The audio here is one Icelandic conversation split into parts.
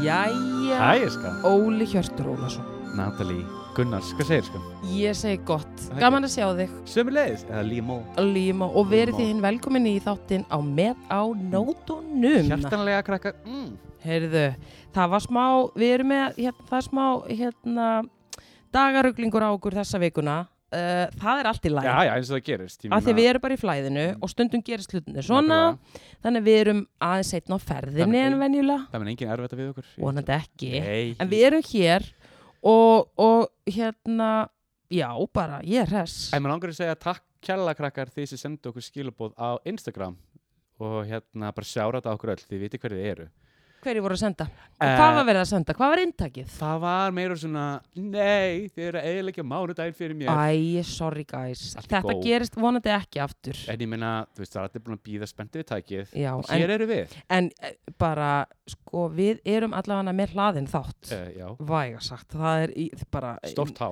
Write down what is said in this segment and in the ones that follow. Jæja Æ, ég skal Óli Hjörtur Ólason Natalie Gunnars, hvað segir sko? Ég segi gott, Hæ. gaman að sjá þig Sömi leiðis Eða Límó Líma og verið Líma. þið hinn velkominni í þáttinn á með á nótunum Hjartanlega krakkar mm. Heyrðu, það var smá, við erum með, hérna, það er smá, hérna, dagaruglingur á okkur þessa vikuna. Uh, það er allt í Já, læg. já, eins og það gerist ég Af því meina- Mm. við erum bara í flæðinu og stundum gerist hlutinni svona, þannig að við erum aðeins einn á ferðinni Þannig- en venjulega, Það menn engin erfitt að við okkur vonandi ekki. Nei En við erum hér og, og hérna, já, bara, ég er hress. En mér langar að segja takk kjalla krakkar því sem sendu okkur skilabóð á Instagram og hérna bara sjára þetta okkur öll því viti hverju þið eru Hverju voru að senda? Eh, Hvað var verið að senda? Hvað var inntakið? Það var meira svona Nei, þið eru að eiginlega mánudaginn fyrir mér Æ, sorry guys, Allt í þetta góð. gerist vonandi ekki aftur. En ég meina, þú veist, það er allir búin að býða spenntið við tækið Já, Og en Hér eru við En eh, bara, sko, við erum allavega með hlaðin þátt. uh, Já, Væga sagt, það er í, bara... stórt há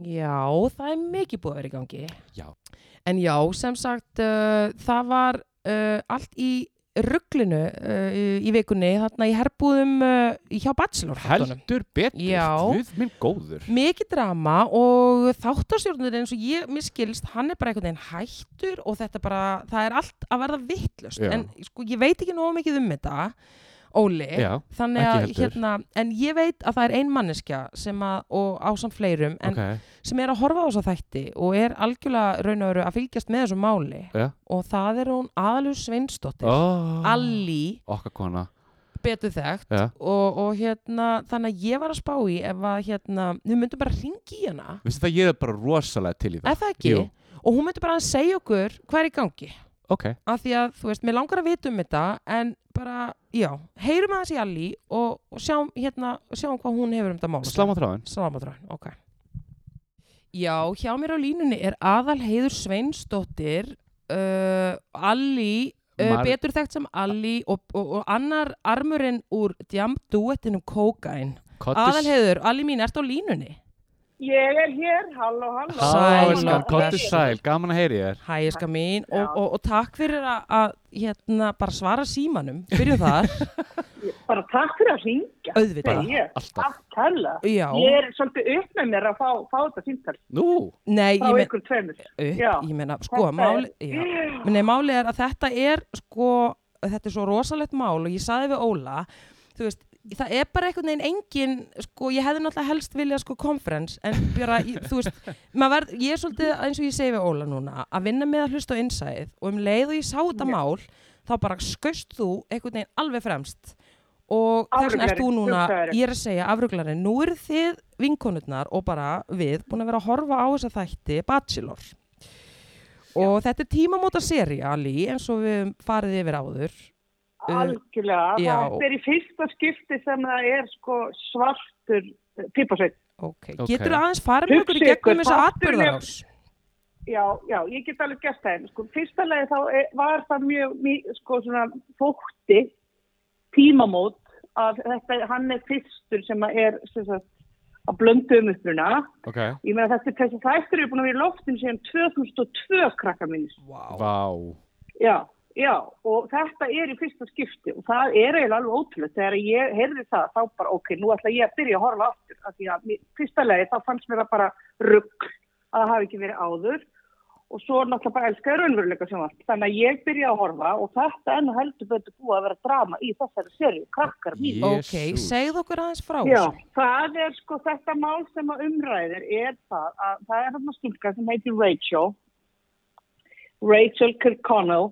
Já, það er mikið búið að vera í gangi. Já. En já, sem sagt, uh, það var uh, allt í rugglinu uh, í vikunni, þarna í herbúðum uh, hjá Bachelor. þáttunum. Heldur betur, Já. Guð minn góður Mikið drama og þáttastjórnir eins og ég miskilst, hann er bara einhvern veginn hættur og þetta bara, það er allt að verða vittlust. Já. En sko, ég veit ekki nógu mikið um þetta, Óli. Já, þannig Ekki að heldur. hérna, en ég veit að það er ein manneskja sem að, og ásamt fleirum en, ok sem er að horfa á þessa þætti og er algjörlega raun og veru að fylgjast með þessu máli Já. og það er hún aðalur Sveinsdóttir oh. Allí, Okkar kona betur þekkt Já. og, og hérna, þannig að ég var að spá í ef að hérna, við myndum bara ringi í hana Vistu það, ég er bara rosalega til í það er það ekki? Jú. og hún myndi bara að segja okkur hvað er í gangi Ok, af því að, þú veist, mér langar að vita um þetta en bara, já, heyrum aðeins í Allí og, og sjáum hérna sjáum hvað hún hefur um þetta mála sláma þráðan Samadrán, ok. Já, hjá mér á línunni er aðal heiður Sveinsdóttir, uh, Alli, uh, Mar- betur þekkt sem Alli og, og, og annar armurinn úr djamduettinum Kókain. Aðal heiður, Alli mín, ertu á línunni? Ég er hér, halló, halló. Sæl, Sæl, Gaman sæl, að- kottu blessuð. sæl, gaman að heyri þér Hæ, eska mín, Já. og, og, og takk fyrir að, að hérna, bara svara símanum, byrjum þar, Bara takk fyrir að ringja. auðvitað. Ég, Alltaf, takk kærlega. Já, Ég er svolítið upp með mér að fá, fá þetta síntal nú, nei, ég, frá men, ykkur tveimur. Já. upp, ég meina, sko, Þetta er- máli, já, Nei, máli er að þetta er sko, þetta er svo rosalegt mál og ég saði við Óla, þú veist, það er bara einhvern veginn engin, sko, ég hefði náttúrulega helst viljað sko konferens, en bara, ég, þú veist, maður verð, ég er svolítið eins og ég segi við Óla núna, að vinna með að hlusta á innsæð og um leið og ég sá þetta mál, þá bara skaust þú einhvern veginn alveg fremst og þess vegna ert þú Afruglarinn, núna, hugsaðurinn. ég er að segja afruglarinn, nú eru þið vinkonurnar og bara við búin að vera að horfa á þessa þætti Bachelor og þetta er tímamóta seri Ali eins og við höfum farið yfir áður Algjörlega. uh, já. Það er í fyrsta skipti sem það er sko svartur pípasveit. okay. Ok. getur aðeins farið með okkur í Hugsið ykkur, gegnum þessa þátturinn er- atbyrðarás Já, já, ég get alveg gert það. en Sko, fyrsta lagi þá er, var það mjög, mjög sko, svona fókti tímamót að þetta, hann er fyrstur sem að er sem sagt, að blöndu um uppruna. ok Ég meina þessi, þessi þættur eru búin að vera í loftin síðan 2002 krakka minnist. wow. Vá, Já, já, og þetta er í fyrsta skipti og það er eiginlega alveg ótrúlega. Þegar ég heyrði það, þá bara, ok, nú ætla ég að byrja að horfa aftur. Af því að mér- fyrsta lagi, þá fannst mér það bara rugg að það hafi ekki verið áður. Og svo náttúrulega bara elskaði raunveruleika sem allt. Þannig að ég byrja að horfa og þetta enn heldur betur búið að vera drama í þessari serju, krakkar mín. ok, Jesús. segð okkur aðeins frá Já, þessu. það er sko þetta mál sem að umræðir er það að það er þarna stúlka sem heitir Rachel Rachel Kirkconnell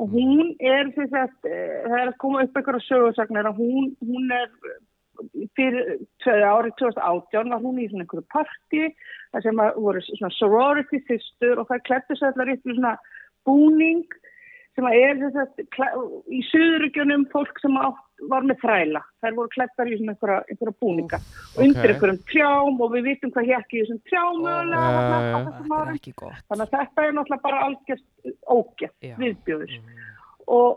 og hún er sem sagt, eh, það er að koma upp einhverja sögursagnar að hún, hún er eh, fyrir tvö- árið 2018 var hún í svona einhverju partí þar sem að voru svona sorority systur og það klættu sér allar upp í svona búning sem að er þess að kla- í suðurugjónum fólk sem átt var með þræla. Þær voru klettar í svona einhverja, einhverja búninga undir einhverjum trjám og við vitum hvað hérki í þessum Ó, trjámöðulega oh, já, já. þessum þetta er árum. ekki gott Þannig að þetta er náttúrulega bara algjört ógjart Já. viðbjóður. Mm. Og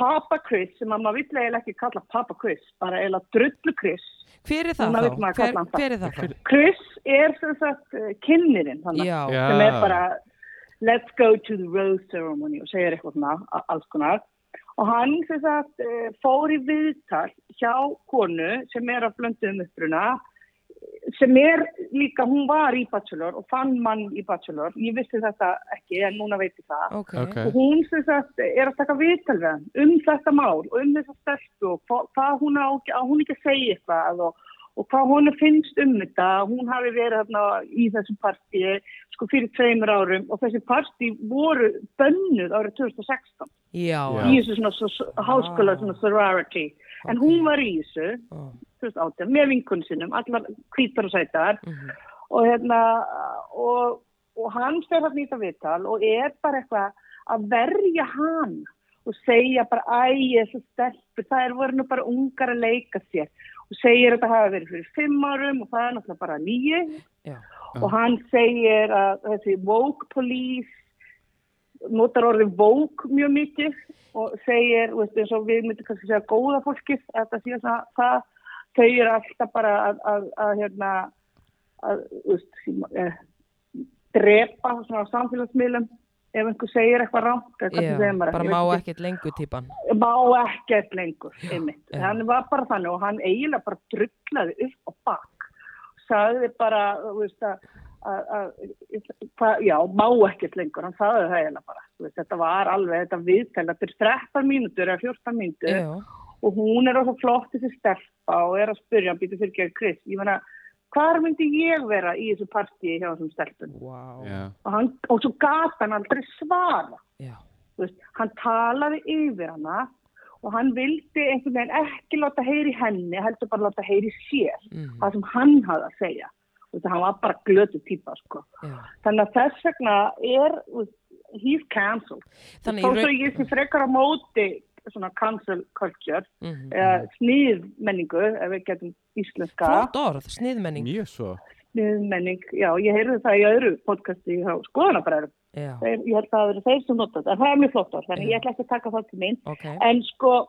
papakviss sem að maður vill eiginlega ekki kalla papakviss, bara eiginlega drullukviss. Hver er það Núna þá? vill maður Hver, kalla hann það. hver er það þá? Kviss er sem sagt eh, kynnirinn þannig Já, Já. sem er bara let's go to the rose ceremony og segir eitthvað svona, a- alls konar og hann sem sagt eh, fór í viðtal hjá konu sem er af blönduðum uppruna sem er líka, hún var í bachelor og fann mann í bachelor ég vissi þetta ekki en núna veit ég það ok. Ok. og hún sem sagt er að taka viðtal við hann um þetta mál og um þessa steltu og hva- hvað hún á, að hún ekki að segja eitthvað og, og hvað hún finnst um þetta hún hafi verið þarna í þessu partíi sko fyrir tveimur árum og þessi partí voru bönnuð árið 2016 Já, Já. í þessu svona so, so, háskóla svona sorority en Ok. hún var í þessu ó, 2018 með vinkunn sinum, allar hvítar og sætar mhm. og hérna og, og hann fer að nýta viðtal og er bara eitthvað að verja hann og segja bara æg, þessu stelpur, það er voru nú bara ungar að leika sér og segir að þetta hafi verið fyrir fimm árum og það er náttúrulega bara nýju já, og hann segir að þessi woke police notar orðið woke mjög mikið og segir, veist, eins og við myndum kannski segja góða fólkið, að það sé svona það, þau eru alltaf bara að, að, að hérna að, veist, eh, drepa svona á samfélagsmiðlum ef einhver segir eitthvað rámt, eða já, hvernig segir maður bara Ég má veit ekkert lengur típan. má ekkert lengur einmitt. já. hann var bara þannig og hann eiginlega bara drullaði upp og bak sagði bara þú veist, að, að, að, hvað- já, má ekkert lengur hann sagði það eiginlega bara þú veist, þetta var alveg þetta viðtæl þetta er 13 mínútur eða 14 mínútur Já, og hún er alveg flott þessi stelpa og er að spyrja hann býtur fyrir gerð Chris ég meina, hvar myndi ég vera í þessu partíi hjá þessum stelpun wow, já, Já. og, hann, og svo gata hann aldrei svara já, Þú veist, hann talaði yfir hana og hann vildi einhvern veginn ekki láta heyri henni, heldur bara láta heyri sér, Mhm. það sem hann hafði að segja. Þú veist, hann var bara glötu típa, sko. Þannig að þess vegna er, þú veist, he's cancelled. Þannig Þó í svo raun- ég sem frekar á móti svona cancel culture, mhm. eða snýð menningu, ef við getum íslenska. Flott orð, sniðmenning. Mjög svo. Snýð menning, já, ég heyrði það í öðru podcasti hjá skoðanabræðum. Já, Þeir, ég held að það eru þeir sem nota þetta, en það er mjög flott orð, þannig ég ætla ekki að taka það til mín. ok. En sko,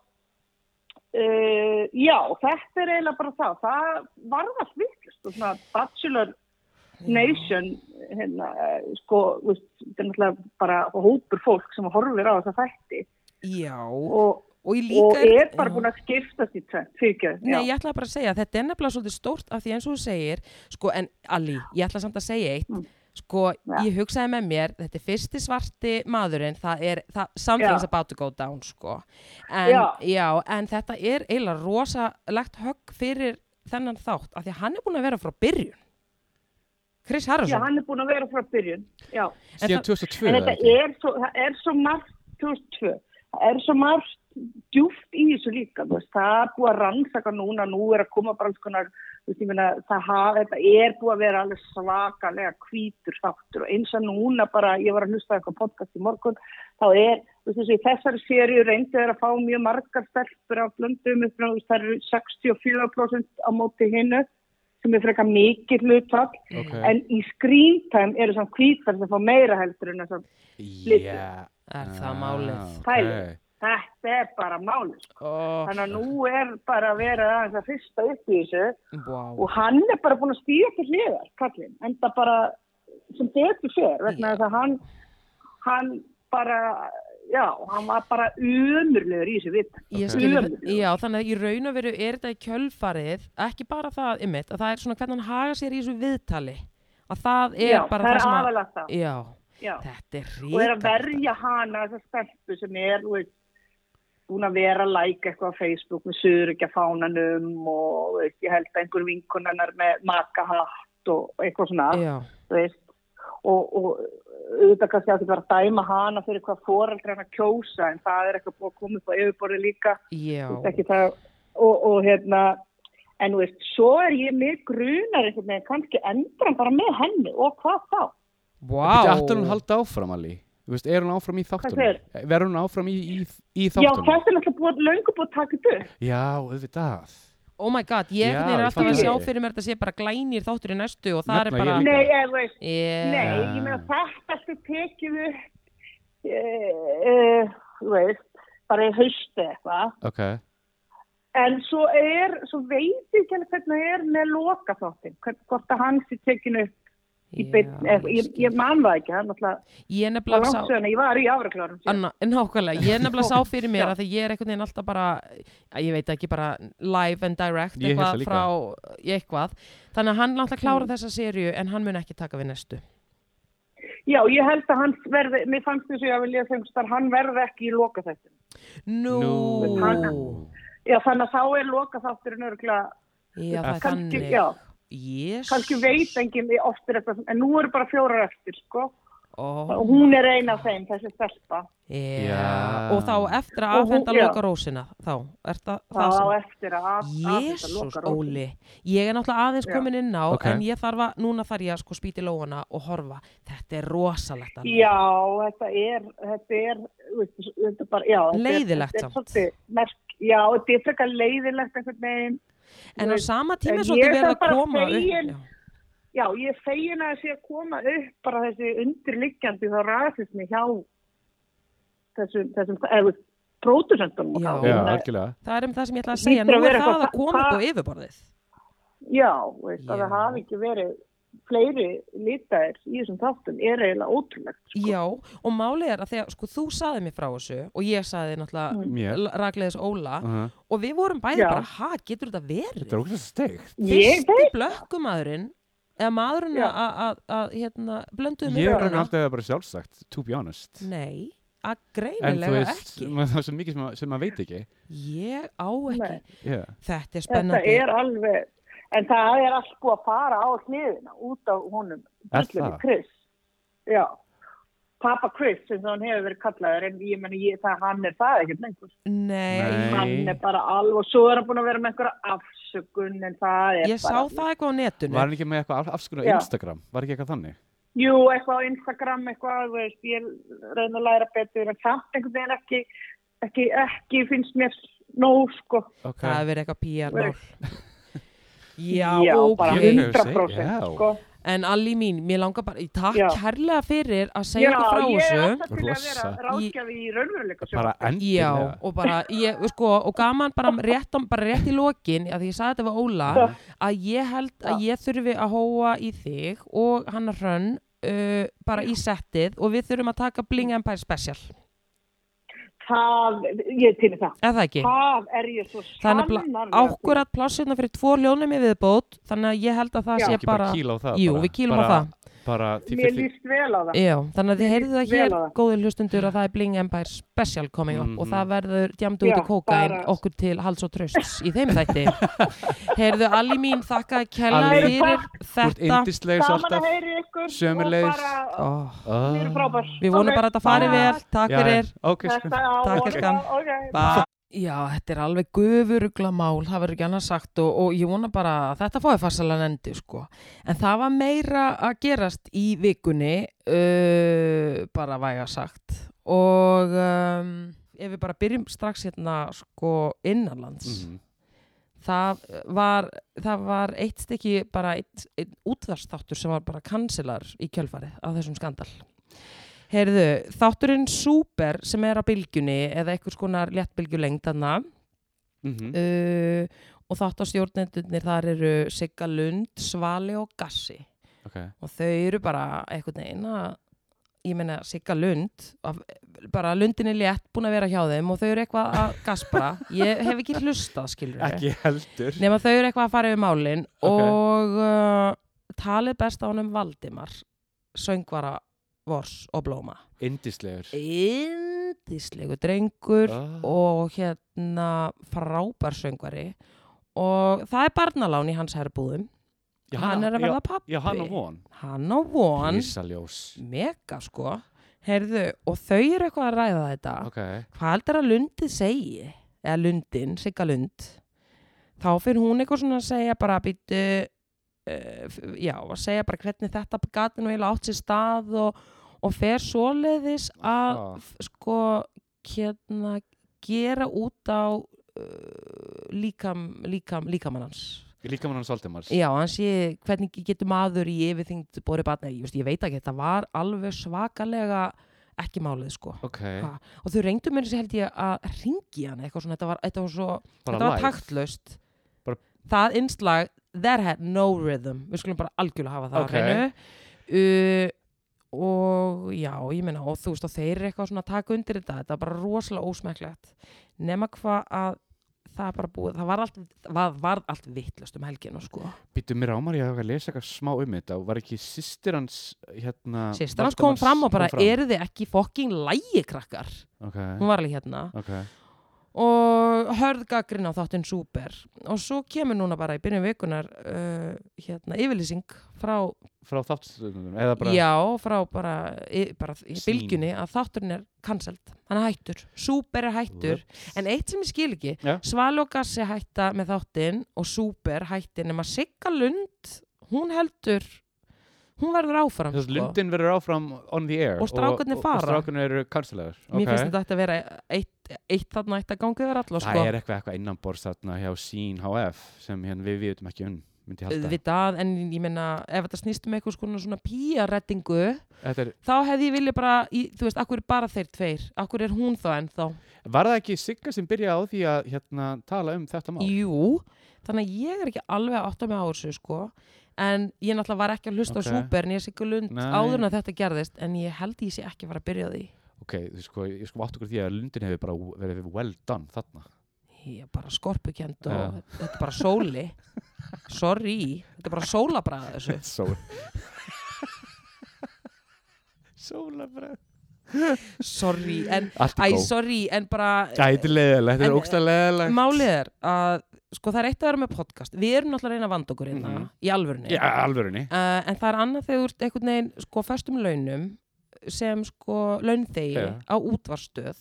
uh, já, þetta er eiginlega bara það. Það var það sviklust og svona Bachelor Nation, hérna, eh, sko, þú veist, þetta er náttúrulega bara hópur fólk sem horfir á þessa þætti Já, og, og ég og líka... er bara Já. búin að skiptast í tvent, fyrir ekki, já. Nei, ég ætla bara að segja, þetta er nefnilega svolítið stórt af því eins og þú segir, sko, en Ali, ég ætla samt að segja eitt, sko, Mm. Já. ég hugsaði með mér, þetta er fyrsti svarti maðurinn, það er, það, something's Já. about to go down, sko, en, já. Já. en þetta er eiginlega rosalegt högg fyrir þennan þátt, af því að hann er búin að vera frá byrjun, Chris já, Harrison, hann er búin að vera frá byrjun, já. Síðan það- 2002 En eða þetta ekki? er svo, það er svo margt 2002, það er svo margt djúft í þessu líka, þú veist, það er búið að rannsaka núna, nú er að koma bara alls konar, þú veist, ég meina, það haf, þetta er búið að vera alveg svakalega hvítur þáttur og eins og núna bara, ég var að hlusta á eitthvað podcast í morgun, þá er, þú veist, þessi, í þessari sériu reyndi þeir að fá mjög margar stelpur á blöndum, upp frá, þú veist, það eru 64% á móti hinnu, sem er frekar mikið hlutfall, Ok. en í screen time eru samt hvítar sem fá meira heldur en þess að Já. Ah, er það málið, Pælið. þetta er bara máli. sko. oh, Þannig að nú er bara verið aðeins að fyrsta upp í þessu wow, og hann er bara búin að stíða til hliðar, kallinn, en það bara sem betur sér, vegna þess að hann, hann bara, já, hann var bara umurlegur í þessu vitt. Ég Ok. skil, Ömurlegur. já, þannig að í raun og veru er þetta í kjölfarið, ekki bara það ymmit, að það er svona hvernig hann haga sér í þessu viðtali, að það er Já, bara það það, er sem að, aðalega það. já, Já. þetta er ríkast. og er að verja hana þessa stelpu sem er þú veist, búin að vera að like eitthvað á Facebook með surugja fánanum og þú veist, ég held að einhver vinkunarnar með makahatt og eitthvað svona Já, þú veist, og, og auðvitað kannski að þið bara dæma hana fyrir hvað foreldra hann að kjósa en það er eitthvað búið að koma upp á yfirborði líka já, Þú veist, ekki það og, og hérna en þú veist, svo er ég mér grunar einhvern veginn, kannski endur hann bara með henni og hvað þá? vá. Þetta er aftur hún halda áfram, Ali. Þú veist, er hún áfram í þáttunum? Verður hún áfram í, í, í Já, þáttunum? þetta er náttúrulega búið löngu búið að taka þetta upp Já, auðvitað. Oh my god, ég Já, er ég alltaf að fatta sjá það. fyrir mér þetta sé bara glænir þáttur í næstu og það er Nefna bara, ég líka. Nei, ég veist, Yeah. nei, ég meina þetta allt tekið upp, uh, uh, eh, veist, bara í hausti eitthvað ok, en svo er, svo veit ég ekki alveg hvernig það er með loka þáttin hvort að hans er tekinu upp í byrn, Já, ég, ég, ég man það ekki það er náttúrulega Ég er það er nefnilega langt sá söguna, ég var í afreklarum Anna, nákvæmlega, ég er nefnilega sá fyrir mér að því ég er einhvern veginn alltaf bara að ég veit ekki bara live and direct Ég hugsa eitthvað líka. frá í eitthvað þannig að hann Mm. náttúrulega klára þessa sériu en hann mun ekki taka við næstu já, ég held að hans verði, mér fannst þess að ég vilja þengst að hann verði ekki í loka þáttin Nú, Nú. já, þannig að þá er loka þátturinn örgulega Já, það er Kannski- þannig já. Jésús. kannski veit enginn oft er eitthvað, en nú eru bara fjórar eftir sko, Ó, og hún er eina af þeim, þessi stelpa Já, Já. og þá eftir að Og hún- afhenda já. loka rósina þá, er það það það á sem eftir að af- afhenda Jésús lokarósina. Óli, ég er náttúrulega aðeins Já. komin inn á Ok. en ég þarf að, núna þarf ég að sko spýti lóana og horfa, þetta er rosalegt Anna. Já, þetta er, þetta er, þú veist, þetta er bara, já. þetta er- Leiðilegt þetta er samt. svolítið Merk, já, þetta er frekar leiðilegt einhvern veginn. en á sama tíma en er svolítið ég verið þarf að bara að koma upp segja- já. Já, ég er fegin að þessi að koma upp bara þessi undirliggjandi þá rasismi hjá þessum, þessum, eh, eða pródusentum. Já. já, algjörlega það er um það sem ég ætla að Hlýtur segja, nú að er vera það eitthvað- að koma upp á það- yfirborðið Já, veist, að Já. það hafi ekki verið fleiri litaðir í þessum þáttum er eiginlega ótrúlegt. Sko. já, og málið er að þegar, sko þú saði mér frá þessu og ég saði þér náttúrulega mér mm. ragleðis Óla uh, og við vorum bæði Já. bara, ha, getur þetta verið þetta er ógæðast steikt Ég fyrsti veit, blökkumadurinn eða maðurinn Já. að- að að, hérna, blönduðum ég er alltaf að það bara sjálfsagt, to be honest nei, að en þú greinilega veist, ekki maður- það er svo mikið sem, að- sem maður veit ekki ég á ekki Nei. yeah. þetta er þetta spennandi er alveg, en það er allt sko að fara á hliðina út af honum. Er Bullunni það? Chris. Já. Papa Chris, sem hann hefur verið kallaður, en ég meni, ég, það, hann er það ekkert lengur. nei, Nei. Hann er bara alveg, og svo er hann búin að vera með einhverja afsökun, en það er ég sá bara... það eitthvað á netinu var hann ekki með eitthvað af- afsökun á Já. Instagram var ekki eitthvað þannig Jú, eitthvað á Instagram, eitthvað, þú veist, ég reyna að læra betur, en samt einhvern veginn ekki, ekki, ekki finnst mér nóg, sko. ok, það hefur verið eitthvað píjarnál já, Já, bara ok Ég hefur segið, 100%, já. sko. en Allí mín, mér langar bara takk Já. kærlega fyrir að Já, segja okkur frá ég er þessu alltaf til að vera Rosa. ráðgjafi í raunveruleika bara Já, endilega og bara, ég, sko, og gaman bara rétt, á- bara rétt í lokin, að því ég sagði þetta við Óla, að ég held að ég þurfi að hóa í þig og hann að hrönn uh, bara í settið og við þurfum að taka Bling Empire Special, Það, ég er til í það. eða ekki? Það er ég svo Þannig sannarlega. að ákkurat plássirna fyrir tvo ljónum í viðbót, þannig að ég held að það Já. sé ekki bara bara, kíla á það Jú, bara, við kýlum á bara, það. bara, því Mér fyrir því líst vel á það. já, þannig að þið heyrðu það Vel hér, á það. góði hlustundur, að það er Bling Empire Special coming up Mhm. og það verður djamdu út Já, í kókain bara- okkur til hals og trösts í þeim þætti. heyrðu, Alli mín, þakka kella Allý, fyrir þú ert þetta. indisleg svo Saman að alltaf heyri ykkur sömuleiðis. og bara, Oh. við erum frábær. Við vonum Ok, bara að þetta fari bye. vel. Takk fyrir. ok, sko Þetta á Takk, vonum elskan. að- ok, Bye. Já, þetta er alveg gufurugla mál, það verður ekki annars sagt og, og ég vona bara að þetta fái farsalan endi, sko. En það var meira að gerast í vikunni, uh, bara væga sagt. Og um, ef við bara byrjum strax hérna, sko, innanlands. Mhm. það var, það var eitt stykki bara eitt, eitt útvarstáttur sem var bara kansilar í kjölfarið af þessum skandal. Heyrðu, þátturinn Super sem er á bylgjunni eða einhvers konar léttbylgjulengd þarna Mhm. uh, og þáttastjórnendurnir þar eru Sigga Lund, Svali og Gassi ok, og þau eru bara einhvern veginn að ég meina Sigga Lund af, bara Lundin er létt búin að vera hjá þeim og þau eru eitthvað að gaspra ég hef ekki hlustað skilur ekki heldur Nefn að þau eru eitthvað að fara yfir málin Ok. og uh, talið best á honum Valdimar, söngvara Vors og Blóma. indislegur Indislegu drengur Ah. og hérna frábær söngvari og það er barnalán í hans herrbúðum. Já, hann er að verða pappi. já, já, hann og von Hann á von, Ísaljós mega sko. Heyrðu, og þau eru eitthvað að ræða þetta. ok, Hvað heldur að Lundið segi? Eða Lundin, Sigga Lund. Þá fyrir hún eitthvað svona að segja bara býttu, uh, já, að segja bara hvernig þetta gati nú eiginlega átt sér stað og, og fer svoleiðis að Ah. f- sko hérna gera út á uh, líkam, líkam, líkamann hans. líka mann hans Valdimars Já, hann sé hvernig getur maður í yfirþyngd borið batna, ég, veist, ég veit ekki, þetta var alveg svakalega ekki málið sko ok, Ha, og þau reyndu mér þessi held ég að ringi hann eitthvað svona, þetta var, þetta var svo bara þetta var live. taktlaust Bara- það innslag, there had no rhythm við skulum bara algjörlega hafa það Ok. okay. reynu uh, og já, ég meina, og þú veist og þeir eru eitthvað svona að taka undir þetta þetta var bara rosalega ósmekklegt nema hvað að það er bara búið það var allt, var, var allt vittlust um helginu sko, Býtu mér ámar, ég hef að lesa eitthvað smá um þetta og var ekki sýstir hans hérna sýstir hans kom Valdimars fram og bara fram? eru þið ekki fokking lægi krakkar Ok, hún var alveg hérna ok, og hörð gaggrin á þáttinn Súper og svo kemur núna bara í byrjun vikunar uh, hérna yfirlýsing frá, frá þáttstöðunum eða bara já, frá bara, í, bara í Sýn. bylgjunni að þátturinn er cancelled, hann er hættur Súper er hættur, en eitt sem ég skil ekki Já. Sval og Gassi hætta með þáttinn og Súper hættir nema Sigga Lund, hún heldur hún verður áfram sko. Þess að lundin verður áfram on the air Og strákarnir og, fara. og strákarnir eru kanslegar mér finnst þetta ætti að vera eitt, eitt þarna eitt að ganga yfir alla sko. Það er eitthvað, eitthvað innanbors þarna hjá sín HF sem hérna, við vitum ekki um myndi ég halda. auðvitað, en ég meina ef þetta snýst um eitthvað skona svona píarettingu Þetta er, þá hefði ég vilja bara, í, þú veist, akkur er bara þeir tveir akkur er hún þá ennþá Var það ekki Sigga sem byrjaði á því að hérna, tala um þetta mál? Jú, þannig að ég er ekki alveg að átta mig á þessu sko en ég náttúrulega var ekki að hlusta Ok. á súper en ég sé ekki lund Nei. áður en að þetta gerðist en ég held ég sé ekki að fara að byrja á því Ok, þú sko, ég sko átt okkur því að lundin hefur bara verið well done þarna. ég er bara skorpukend og Já. þetta er bara sóli sorry, þetta er bara sólabræða þessu Sól. Sóla bara. sorry, en, Allt æ, er góð. sorry en bara, Þetta er leðilegt, þetta En- er ógsta leðilegt. Málið er að, sko það er eitt að vera með podcast Við erum náttúrulega að reyna að vanda okkur hérna Mhm. Í alvörunni Já, alvörunni. uh, En það er annað þegar þú ert einhvern veginn sko föstum launum Sem sko launþegi Já. á útvarstöð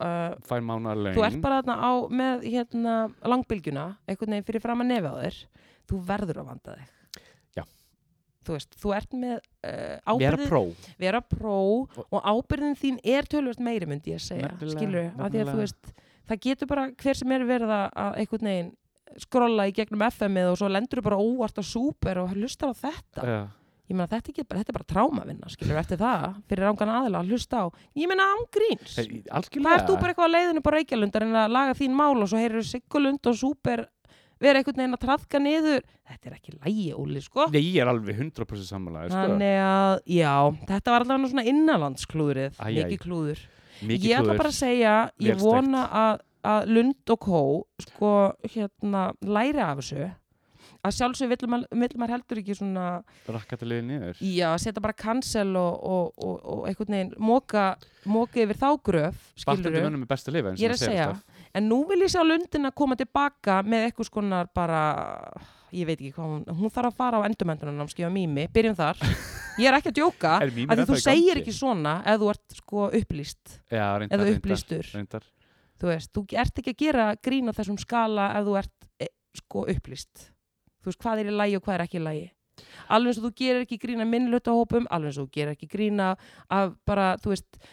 uh, Fær mánar laun. Þú ert bara þarna á með hérna langbylgjuna Einhvern veginn fyrir fram að nefa þér Þú verður að vanda þig Já. Þú veist, þú ert með uh, Við erum ábyrðin pró. vera pró og ábyrðin þín er tölvöld meiri myndi ég að segja, Nefnilega, skilur af því að þú nefnilega. veist, það getur bara hver sem er verið að- að einhvern veginn skrolla í gegnum FM-ið og svo lendur bara óvart á súper og hlustar á þetta Já. ég meina þetta, ekki, bara, þetta er bara trámavinna skilur eftir það, fyrir ángan aðila að hlusta á ég meina ángríns Það er það ert þú bara algjörlega. eitthvað á leiðinu bara reykjalundar en að laga þín mál og svo heyrur siggulund og súper vera einhvern veginn að traðka niður þetta er ekki lægi, Óli, sko Nei, ég er alveg 100% sammálaður, sko. Þannig að, já, þetta var allavega svona innanlandsklúðrið, Æ, æ. mikið klúður. Mikið ég ætla klúður. bara að segja, ég Vel steikt. vona að, að Lund og Kó, sko, hérna, læri af þessu. Að sjálfsög vill maður, vill maður heldur ekki svona, Rakkataliðið niður. já, setja bara cancel og, og, og, og einhvern veginn moka, moka yfir þá gröf, skilur Bartandi mönnum er best að lifa, eins Ég er að og það segir segja, alltaf. en nú vil ég sjá Lundin að koma tilbaka með eitthvað skonar bara, ég veit ekki hvað hún, hún þarf að fara á endumendunum, skilja mými, byrjum þar. Ég er ekki að djóka. Er mímir að því ennþá þú í segir gangi? ekki svona ef þú ert sko upplýst Já, ef reyndar, þú reyndar, upplýstur reyndar. þú veist, þú ert ekki að gera grín á þessum skala ef þú ert e, sko upplýst þú veist, hvað er í lagi og hvað er ekki í lagi alveg eins og þú gerir ekki grína minnlutahópum, alveg eins og þú gerir ekki grína af bara, þú veist e,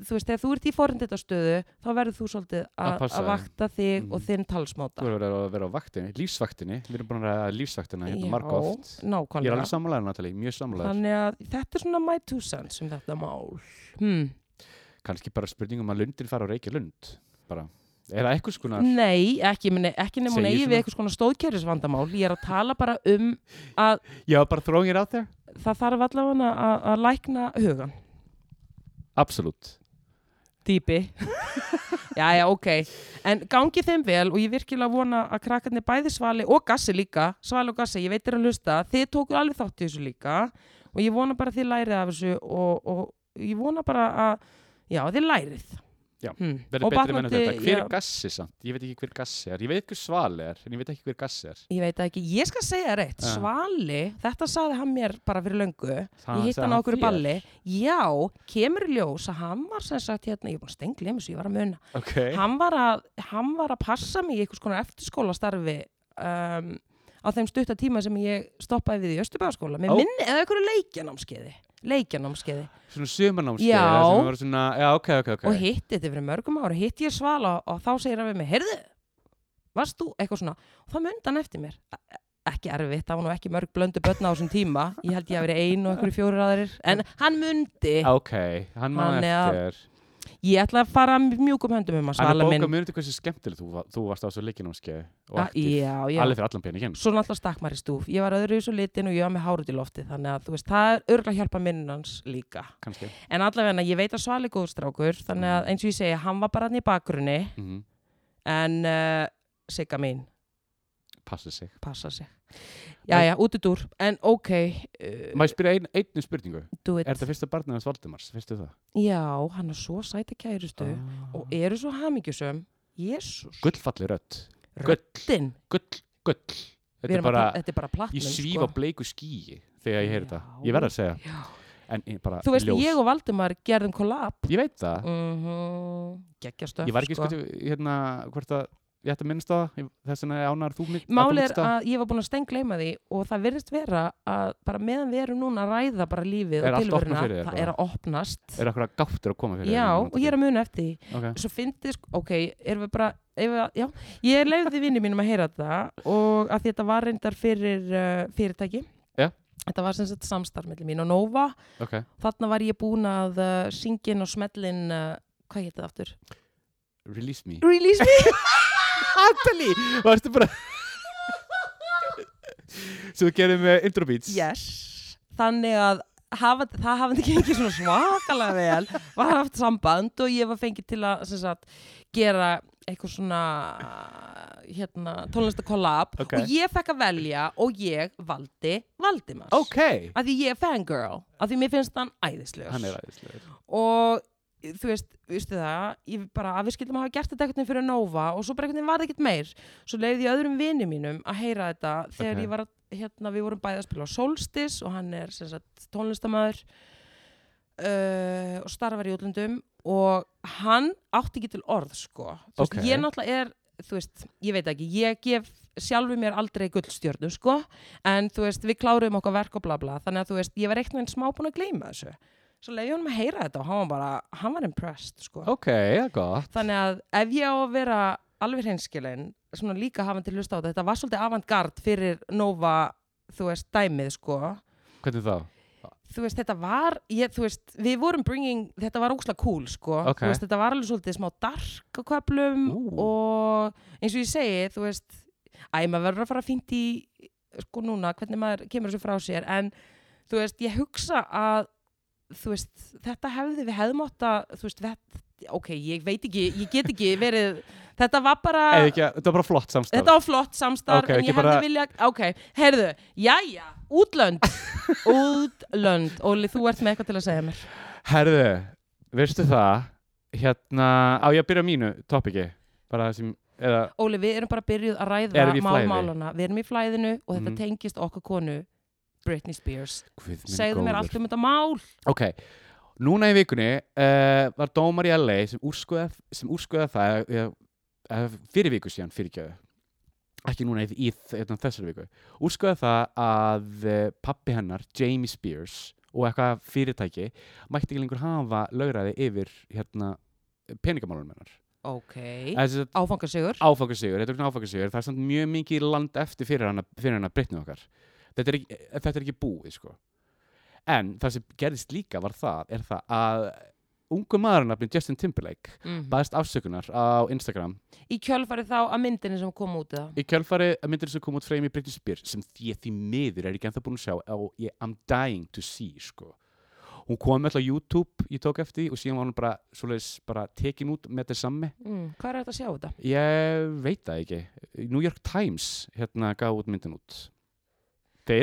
þú veist, þegar þú ert í forendindastöðu þá verður þú svolítið Að að passa að þig. vakta þig Mhm. og þinn talsmáta Þú verður að vera á vaktinni, lífsvaktinni, við erum búin að ræða lífsvaktina hérna marg oft. Ég er nákvæmlega alveg sammálaður, Natalie, mjög sammálaður. þannig að þetta er svona my two cents um þetta mál hmm. Kanski bara spurningum að lundin fara á reykja lund, bara. Er það eitthvað skonar? Nei, ekki, meni, ekki nefnum hún Segir eigi svona. við eitthvað svona stóðkerfisvandamál. Ég er að tala bara um að Já, bara throwing it out there? það þarf allavega að, að lækna hugan. Absolutt. Dýpi. já, já, ok. En gangi þeim vel og ég virkilega vona að krakkarnir bæði svali og gassi líka, svali og gassi, ég veit þeir að hlusta, þið tókuð alveg þátt í þessu líka og ég vona bara að þið lærið af þessu og, og ég vona bara að, já, þið lærið. Já, hmm. Verður Og betri menn batnandi- þetta. Hver já. er gassi samt? Ég veit ekki hver gassi er. Ég veit hver svali er, en ég veit ekki hver gassi er. Ég veit það ekki, ég skal segja þér eitt, Ja. Svali, þetta saði hann mér bara fyrir löngu, Það ég hitt sagði hann á hann okkur þér? balli, já, kemur í ljós að hann var sem sagt hérna, ég er búin að stengla um þessu, ég var að muna, Ok. hann var að, hann var að passa mig í einhvers konar eftirskólastarfi um, á þeim stutta tíma sem ég stoppaði við í Östubæðaskóla, með Ó. minni eða einhverju leikjanámskeiði, leikjanámskeiði Svona sumarnámskeið, Já. það sem var svona, já, ok, ok, ok. og hitti þetta fyrir mörgum ára, hitti ég Svala og þá segir hann við mig, heyrðu, varst þú eitthvað svona, og það mundi hann eftir mér, ekki erfitt, það var nú ekki mörg blöndu börn á þessum tíma, ég held ég að verið ein og einhverju fjórir aðrir, en hann mundi Ah, ok, hann Hann maður er að- eftir ég ætla að fara mjúkum höndum um að hann er svala bókað minn mjög undir hversu skemmtileg þú, va- þú varst á svo leikinámskeið og Ah, aktív, já, já, alveg fyrir allan peningin svo náttúrulega stakk maður í stúf ég var öðru í svo litin og ég var með hárut í lofti þannig að þú veist, það er örgulega hjálpa minnans líka kannski en allavega, ég veit að svali góðstrákur þannig að eins og ég segi, hann var bara hann í bakgrunni mm en uh, Sigga mín, passa sig passa sig Jæja, út í dúr, en ok uh, Má ég spyrja ein, einu spurningu? do it Er þetta fyrsta barnið hans Valdimars? Fyrstu það? Ah. já, hann er svo sæti kærustu og eru svo hamingjusum Jésús, Gullfalli rödd gullin Gull, gull Þetta Við er erum að bara, tala- þetta er bara platnum ég svíf á bleiku skíi þegar ég heyri þetta Já. Ég verð að segja, Já. en ég bara Þú veist, ljós. ég og Valdimar gerðum kollab Ég veit það, mm -hmm. Gekkjastöf ég var ekki sko, hérna, hvort að ég ætti að minnst á það, ég- þess vegna ánar þú minn Mál er að ég var búin að stengleima því og það virðist vera að bara meðan við erum núna að ræða bara lífið Er og allt opnað tilveruna, fyrir þér það bara? er að opnast Er eitthvað gáttur að koma fyrir hérna? Já, og ég er að muna eftir því okay. Svo fyndið, sko- ok, erum við bara erum við, að- Já, ég leiði vinni mínum að heyra þetta og að því þetta var reyndar fyrir uh, fyrirtæki Já. Þetta var sem sagt samstarf mellum mín og Nova ok, Þarna var ég búin að uh, syngin og smellin, uh, hvað hétt það aftur? release me Release me Natalie, varstu bara Svo þú gerir með intro beats Yes Þannig að hafa, það hafandi gengið svona svakalega vel var haft samband og ég var fengið til að sem sagt, gera eitthvað svona hérna, tónlistakollab Ok. og ég fekk að velja og ég valdi Valdimars Ok, af því ég er fangirl af því mér finnst hann æðislegur hann er aðeinslegur og þú veist, veistu það ég bara að við skildum hafa gert þetta eitthvað fyrir Nova og svo bara eitthvað var það ekkert meir svo leiði ég öðrum vini mínum að heyra þetta þegar Ok. ég var að, hérna, við vorum bæði að spila á Solstis og hann er sem sagt tónlistamæður uh, og starfar í útlöndum og hann átti ekki til orð sko, þú veist, Ok. ég náttúrulega er þú veist, ég veit ekki, ég gef sjálfu mér aldrei gullstjörnu, sko en þú veist, við kláruðum okkar verk og bla bla þannig að þú veist, ég var eitthvað einn smá búin að gleyma þessu svo leiði honum að heyra þetta og hann var bara, hann var impressed sko. Ok, það er gott þannig að ef ég á að vera alveg hreinskilin, svona líka hafandi hlusta á þetta, þetta var svolítið avantgard fyrir Nova, þú veist, dæmið sko. Hvernig þá? þú veist, þetta var ég, þú veist, við vorum bringing, þetta var óksla cool sko, Ok. þú veist, þetta var alveg svolítið smá dark á köflum Ú. og eins og ég segi, þú veist æ, maður verður að fara fínt í sko núna, hvernig maður kemur þessu frá sér en, þú veist, ég hugsa að þú veist, þetta hefði við hefðum átt að, þú veist, vett, ok, ég veit ekki, ég get ekki verið þetta var bara Eða ekki, að- þetta var bara flott samstarf Ah. Þetta var flott samstarf, Ok, en ég ekki hefði bara- viljað, ok, heyrðu, jæja, útlönd, útlönd, Óli, þú ert með eitthvað til að segja mér. Herðu, veistu það Hérna, á ég að byrja á mínu topiki Bara það sem, eða Óli, við erum bara byrjuð að Erum við ræða í flæði? málmálana, við erum í flæðinu og þetta Mm. tengist okkur konu Britney Spears. Guð minn Segðu mér góður. allt um þetta mál. Ok, núna í vikunni uh, var dómar í LA sem úrskuða, sem úrskuða það uh, uh, fyrir viku síðan, fyrirgjöðu ekki núna í, í hérna, þessari viku úrskuða það að uh, pappi hennar, Jamie Spears og eitthvað fyrirtæki mætti ekki lengur hafa lögraði yfir hérna, peningamálunum hennar Ok, Þessi, áfangasigur. áfangasigur, þetta er svona áfangasigur það er samt mjög mikið land eftir fyrir hana, fyrir hana brittnið okkar þetta er, ekki, þetta er ekki búið sko. en það sem gerðist líka var það er það að ungu maðurnafnin Justin Timberlake Mm. baðist afsökunar á Instagram Í kjölfari þá að myndinni sem kom út það. í kjölfari að myndir sem kom út freymi Britney Spears sem því því miður er ekki ennþá búin að sjá og ég I'm dying to see sko. hún kom alltaf á YouTube ég tók eftir því og síðan var hún bara, svoleiðis, bara tekin út með þetta sami Mm. Hvað er þetta að sjá þetta? Ég veit það ekki. New York Times hérna gaf út myndin út. Þeir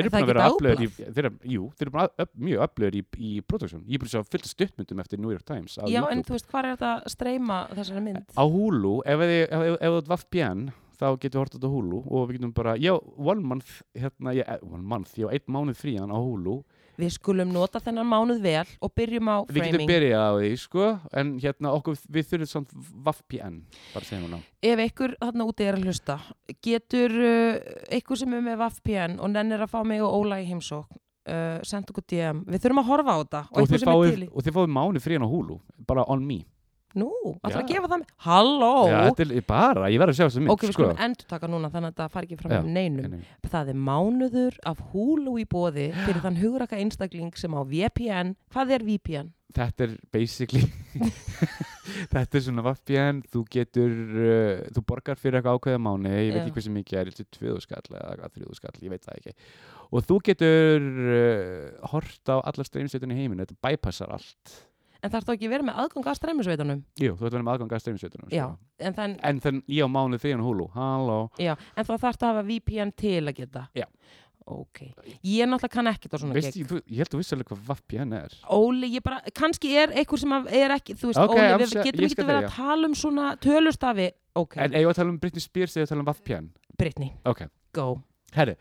Er eru það búin að vera ekki upplöður í, þeir eru, jú, þeir eru búin að upp, mjög upplöður í, í production. Ég er búin að sjá fullt af stuttmyndum eftir New York Times á Já, en YouTube. þú veist, hvað er þetta að streyma þessari mynd? Á Hulu, ef þið- ef- ef- ef þú ert VPN, þá getum við hortið á Hulu og við getum bara, já, one month, hérna, ég, eh, one month, ég á einn mánuð frían á Hulu. Við skulum nota þennan mánuð vel og byrjum á Við getum framing. byrjað á því, sko, en hérna, okkur, við þurfum samt VPN, bara segja núna. ef einhver þarna úti er að hlusta getur uh, einhver sem er með VPN og nennir að fá mig og Óla í heimsókn uh, senda okkur DM við þurfum að horfa á þetta og, Og einhver þið sem er til fáið, í og þið fáið mánuð frían á Hulu, bara on me. Nú, alltaf að Já. gefa það með Halló Já, þetta er bara, ég verður að sjá þessu mynd Ok, við sko. skulum endur taka núna þannig að þetta fari ekki fram Já, um neinum Einnig. Það er mánuður af húlu í bóði fyrir þann hugraka einstakling sem á VPN Hvað er VPN? Þetta er basically Þetta er svona VPN Þú getur, uh, þú borgar fyrir eitthvað ákveða mánu Ég veit Já. ekki hversu mikið er Þetta er tviðu skall eða þrjúðu skall, ég veit það ekki Og þú getur uh, hort á allar streymsveitunni í heiminu Þetta bypassar allt En þarf þá ekki að vera með aðgang að streymisveitunum? Jú, þú ætlum aðgang að streymsveitunum Já, en, þann, En þann ég á mánu þriðan húlu Halló já, en þá þarf það að hafa VPN til að geta Já. Ok, ég náttúrulega kann ekkert á svona Veist, gig. ég, þú, ég held að vissi alveg hvað VPN er Óli, ég bara, kannski er einhver sem að- er ekki, þú veist, Ok, Óli, I'm við sorry, getum ég ekki skal verið að þegja. tala um svona tölustafi. Ok, En eigum við að tala um Britney Spears eða tala um VPN Brittany, Ok go. Herri,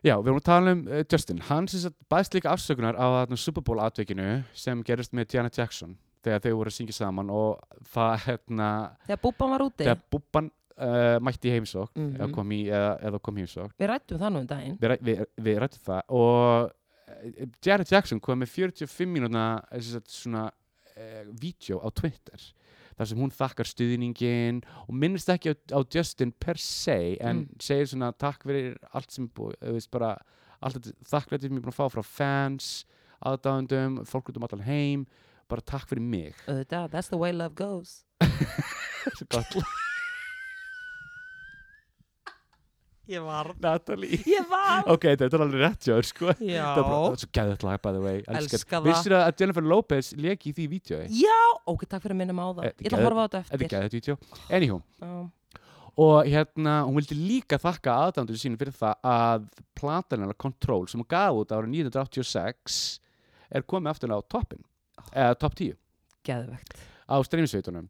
já, við vorum að tala um uh, Justin, hann sem sagt baðst líka afsökunar á þarna Super Bowl atveikinu sem gerist með Janet Jackson þegar þau voru að syngja saman og það, hérna, Þegar búban var úti, þegar Bubban uh, mætti í heimsókn Mhm. eða kom í, eða, eða kom í heimsókn við rættum það nú um daginn. við, ræ- við, við rættum það og eh, Janet Jackson kom með 45 mínúna eh, sem sagt, svona uh, vídeo á Twitter þar sem hún þakkar stuðningin og minnist ekki á, á Justin per se en Mm. segir svona takk fyrir allt sem er búið, þú veist bara allt þetta þakklæti sem ég er búin að fá frá fans aðdáðendum, fólk út um allan heim bara takk fyrir mig Auðvitað, that's the way love goes. Svo gott lag, Ég var. Natalie Ég var. ok, þetta er alveg rétt hjá þér sko Já. Það er bara- það er svo gæðið lag by the way Elska Elska þetta. það. Vissirðu að Jennifer Lopez lék í því vídeo Já, ok, takk fyrir að minna mig á það. Þetta er Ég ætla að geð- horfa á þetta Þetta er eftir. gæðið vídeo Anywho, Já. og hérna, hún vildi líka þakka aðdæmdur sínum fyrir það að platanina Control sem hún gaf út ára 1986 er komið aftur á toppin, eða topp 10 Geðvegt. á streymisveitunum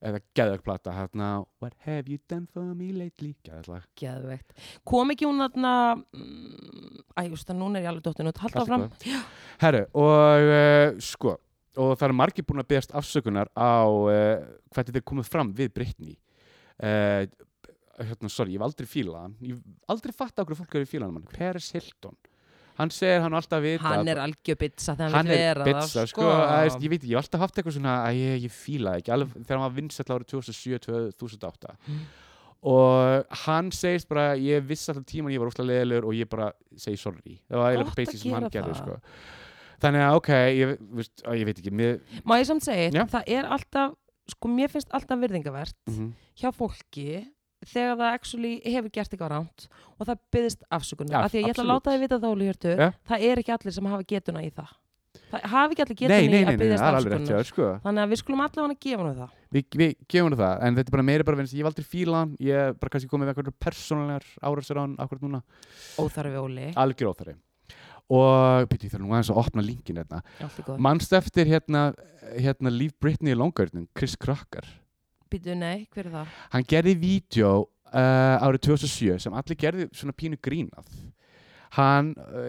eða geðvögg plata hérna What have you done for me lately geðvögg, Geðvegt. Kom ekki hún þarna, mm, æ, þú veist að núna er ég alveg dottin út, halda fram. herru, og uh, sko og það er margir búin að beðast afsökunar á uh, hvernig þeir komið fram við Britney uh, hérna, sorry, ég hef aldrei fílað hann ég hef aldrei fatt á hverju fólk hefur fílað hann mann. Peres Hilton, hann segir hann á alltaf að vita Hann er algjör bitsa þegar hann hann vil er vera bitsa, sko, að, veist, ég veit, ég hef alltaf haft eitthvað svona að ég, ég fíla það ekki, alveg þegar hann var vinsall árið 2007-2008 og hann segist bara ég vissi alltaf tíman ég var óslega leðilegur og ég bara segi sorry, það var Gott eiginlega að basic sem hann gera gerði, það. sko þannig að ok, ég, veist, að, ég veit ekki mér, Má ég samt segja, Já. eitt? það er alltaf, sko, mér finnst alltaf virðingavert mhm, hjá fólki þegar það actually hefur gert eitthvað ránt og það byggðist afsökunum. Já, af því að ég ætla að absolutt. láta þið vita þá, Hjörtu, Já. það er ekki allir sem hafa getuna í það. Það hafa ekki allir nei, getuna nei, í nei, að nei, byggðist það er alveg rétt hjá afsökunum. þér, sko Þannig að við skulum allavega að gefa nú það. Vi, við gefum hann það, en þetta er bara meira bara vegna þess að ég hef aldrei fílað hann, ég hef bara kannski komið með eitthvað persónlegar árásir á hann akkurat núna Óþarfi óli, algjör óþari og píti, ég þarf nú aðeins að opna linkin hérna allt í góð. Manst eftir hérna, hérna Leave Britney Longarnin, Chris Crocker Býtu, nei, hver er það? Hann gerði vídeo uh, árið 2007 sem allir gerði svona pínu grínað Hann uh,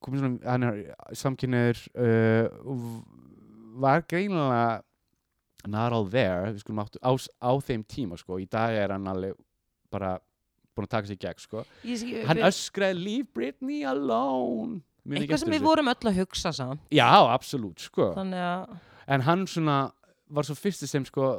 kom svona, hann er samkynniður uh, og var greinilega not all there við skulum áttu, á, á þeim tíma sko í dag er hann alveg bara búin að taka sér í gegn sko Ég, ég, Hann öskraði Leave Britney alone Muna ekki eitthvað sem eftir við þessu. vorum öll að hugsa samt Já, absolút sko þannig að, en hann svona var svo fyrsti sem sko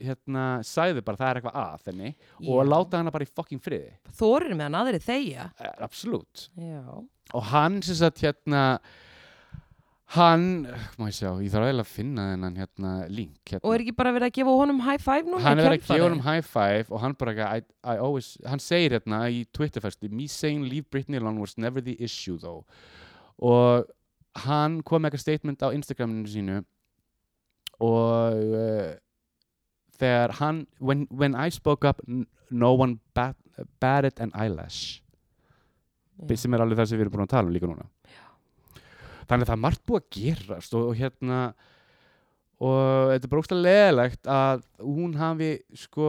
hérna, sæði bara það er eitthvað að þenni og Já. láta hana bara í fucking friði þorir meðan aðri þegja Eh, absolutt já, og hann sem sagt hérna hann, eh, má ég sjá, ég þarf eiginlega að finna þennan hérna link hérna. og er ekki bara verið að gefa honum high five núna hann í er verið að kjölfarið? gefa honum high five og hann bara ekki, I, I always, hann segir hérna í Twitterfesti, me saying leave Britney alone was never the issue though og hann kom með eitthvað statement á Instagraminu sínu og uh, þegar hann when, when I spoke up n- no one bat, batted an eyelash Já. sem er alveg það sem við erum búin að tala um líka núna þannig að það er margt búið að gerast og, og hérna og þetta er bara óslega leðilegt að hún hafi sko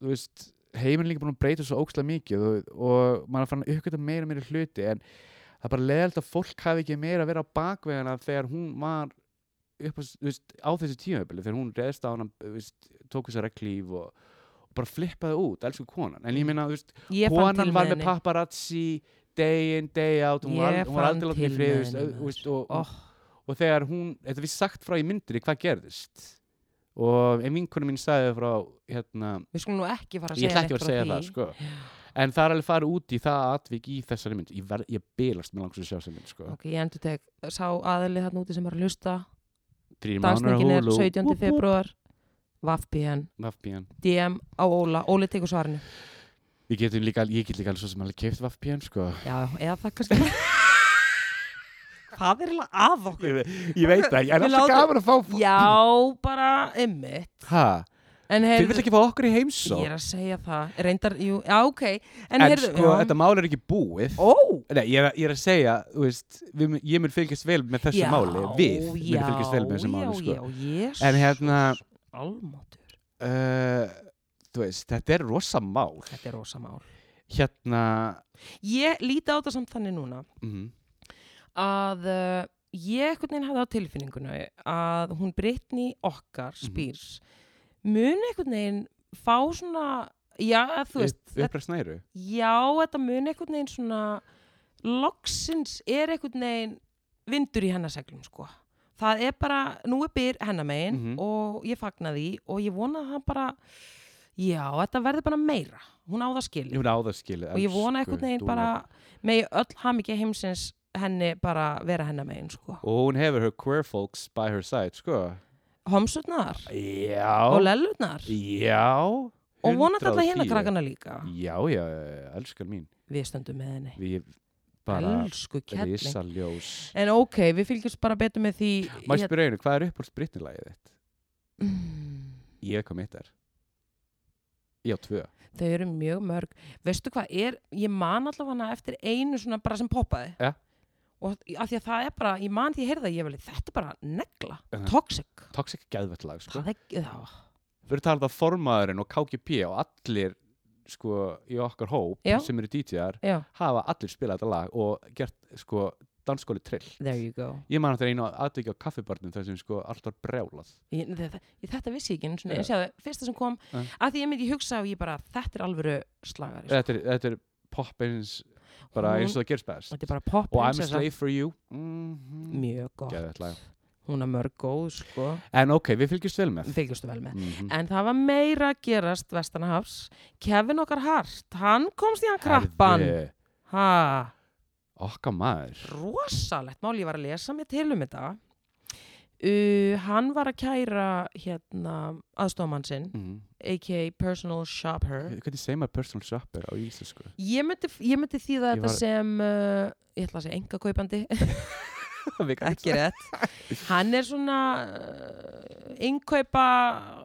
þú veist, heiminn líka búin að breyta svo ókslega mikið og, og maður er farin að uppgöta meira og meira hluti en það er bara leðilegt að fólk hafi ekki meira að vera á bakvegana þegar hún var upp á, þú veist, á þessu tímabili þegar hún reðst á hana þú veist, tók þessa reglíf og, og bara flippaði út, elsku konan en ég meina, þú veist, Mm. ég fann til konan var með með henni paparazzi day in, day out hún var, Ég al- hún var fann aldrei til látið með í frið þú veist, henni, au- þú veist, og, oh, og þegar hún, þetta er við sagt frá í myndinni hvað gerðist og ein vinkunum mín sagði frá hérna, Við skulum nú ekki fara að ég segja ætla ekki að neitt segja frá það því. sko. en það er alveg farið út í það atvik í þessari mynd ég, ver, ég bilast með langs að sjá þessari mynd sko. Ok, ég endur teg, sá aðlið þarna úti sem er að hlusta Þrír mánuðar á Dagsningin er Hulu, 17. whoop, whoop, februar Vafbíðan, VPN. DM á Óla Óli tekur svarinu Við getum líka, ég get líka alveg svo sem alveg keift VPN sko. Já, eða það kannski Hvað er eiginlega að okkur? ég, ég veit það, ég er Við alltaf látum- gaman að fá Já, bara ymmit ha, En þeir heyrðu, vil ekki fá okkur í ég heimsó er að segja það Reyndar, jú, já, ok En, en heyrðu, sko, já. þetta mál er ekki búið Ó, Nei, ég, er, að- ég er að segja, þú veist, við, mun- ég mun fylgjast vel með þessu já, máli, við já, mun fylgjast vel með þessu máli, sko. Já, já, jésus En hérna- Almátur, Uh, þú veist, þetta er rosa mál. þetta er rosa mál Hérna, Ég líti á þetta samt þannig núna mm, að uh, ég einhvern veginn hafði á tilfinningunu að hún Brittany okkar Mhm. spýrs mun einhvern veginn fá svona já, að þú veist, upp, uppræð snæru. þetta- já, þetta mun einhvern veginn svona loksins er einhvern veginn vindur í hennaseglum sko það er bara, nú er byr hennamegin Mhm. og ég fagna því og ég vona að það bara já, þetta verður bara meira, hún á það skilið Ég mun á það skilið. og ég vona elsku einhvern veginn dúllar. bara megi öll hamingi heimsins henni bara vera hennar megin sko. Og hún hefur her queer folks by her side, sko. homsutnar og Já, lellutnar já. og vonandi alla 110. hérna krakkana líka Já, já, elskar mín. við stöndum með henni Við bara elsku kelling risa ljós. en ok, við fylgjumst bara betur með því hérna- Má ég hér- spyrja einu, hvað er uppáhalds Britney-lagið þitt? Mm, Ég kom eitt er. Já, tvö. þau eru mjög mörg veistu hvað er, ég man allavega eftir einu svona bara sem poppaði Ja. og af því að það er bara, ég man því að heyrða ég veli, þetta er bara negla, Mhm. toxic Toxic geðvett lag, sko. það er, já, Við erum talað að formaðurinn og KGP og allir sko í okkar hóp Já. sem eru DJ-ar já, hafa allir spilað þetta lag og gert sko dansskóli trill. there you go Ég man þetta einu aðvikið á kaffibarnum þar sem sko allt var brjálað. Ég, nei, þetta, ég, þetta vissi ég ekki, einu sinni, Ja. en sjáðu, fyrsta sem kom, Ja. að því ég myndi hugsa og ég bara, þetta er alvöru slagari, sko. Þetta er, þetta er pop eins bara Hún- eins og það gerst best. þetta er bara pop, Og I'm a prinsessa. slave for you. Mm mjög gott, Geðveikt lag. hún er mörg góð, sko, En ok, við fylgjumst vel með. fylgjustu vel með. Mm En það var meira að gerast vestanahafs, Kevin okkar hart, hann komst í hann krappan, ha, Okka maður. rosalegt mál, ég var að lesa mér til um þetta, uh, hann var að kæra, hérna, aðstofmann sinn, Mm a.k.a. personal shopper, Hvernig segir maður personal shopper á íslensku? Ég myndi, ég myndi þýða Ég þetta var- sem, uh, ég ætla að segja enga kaupandi, Við kannum ekki rétt. Hann er svona uh, innkaupa,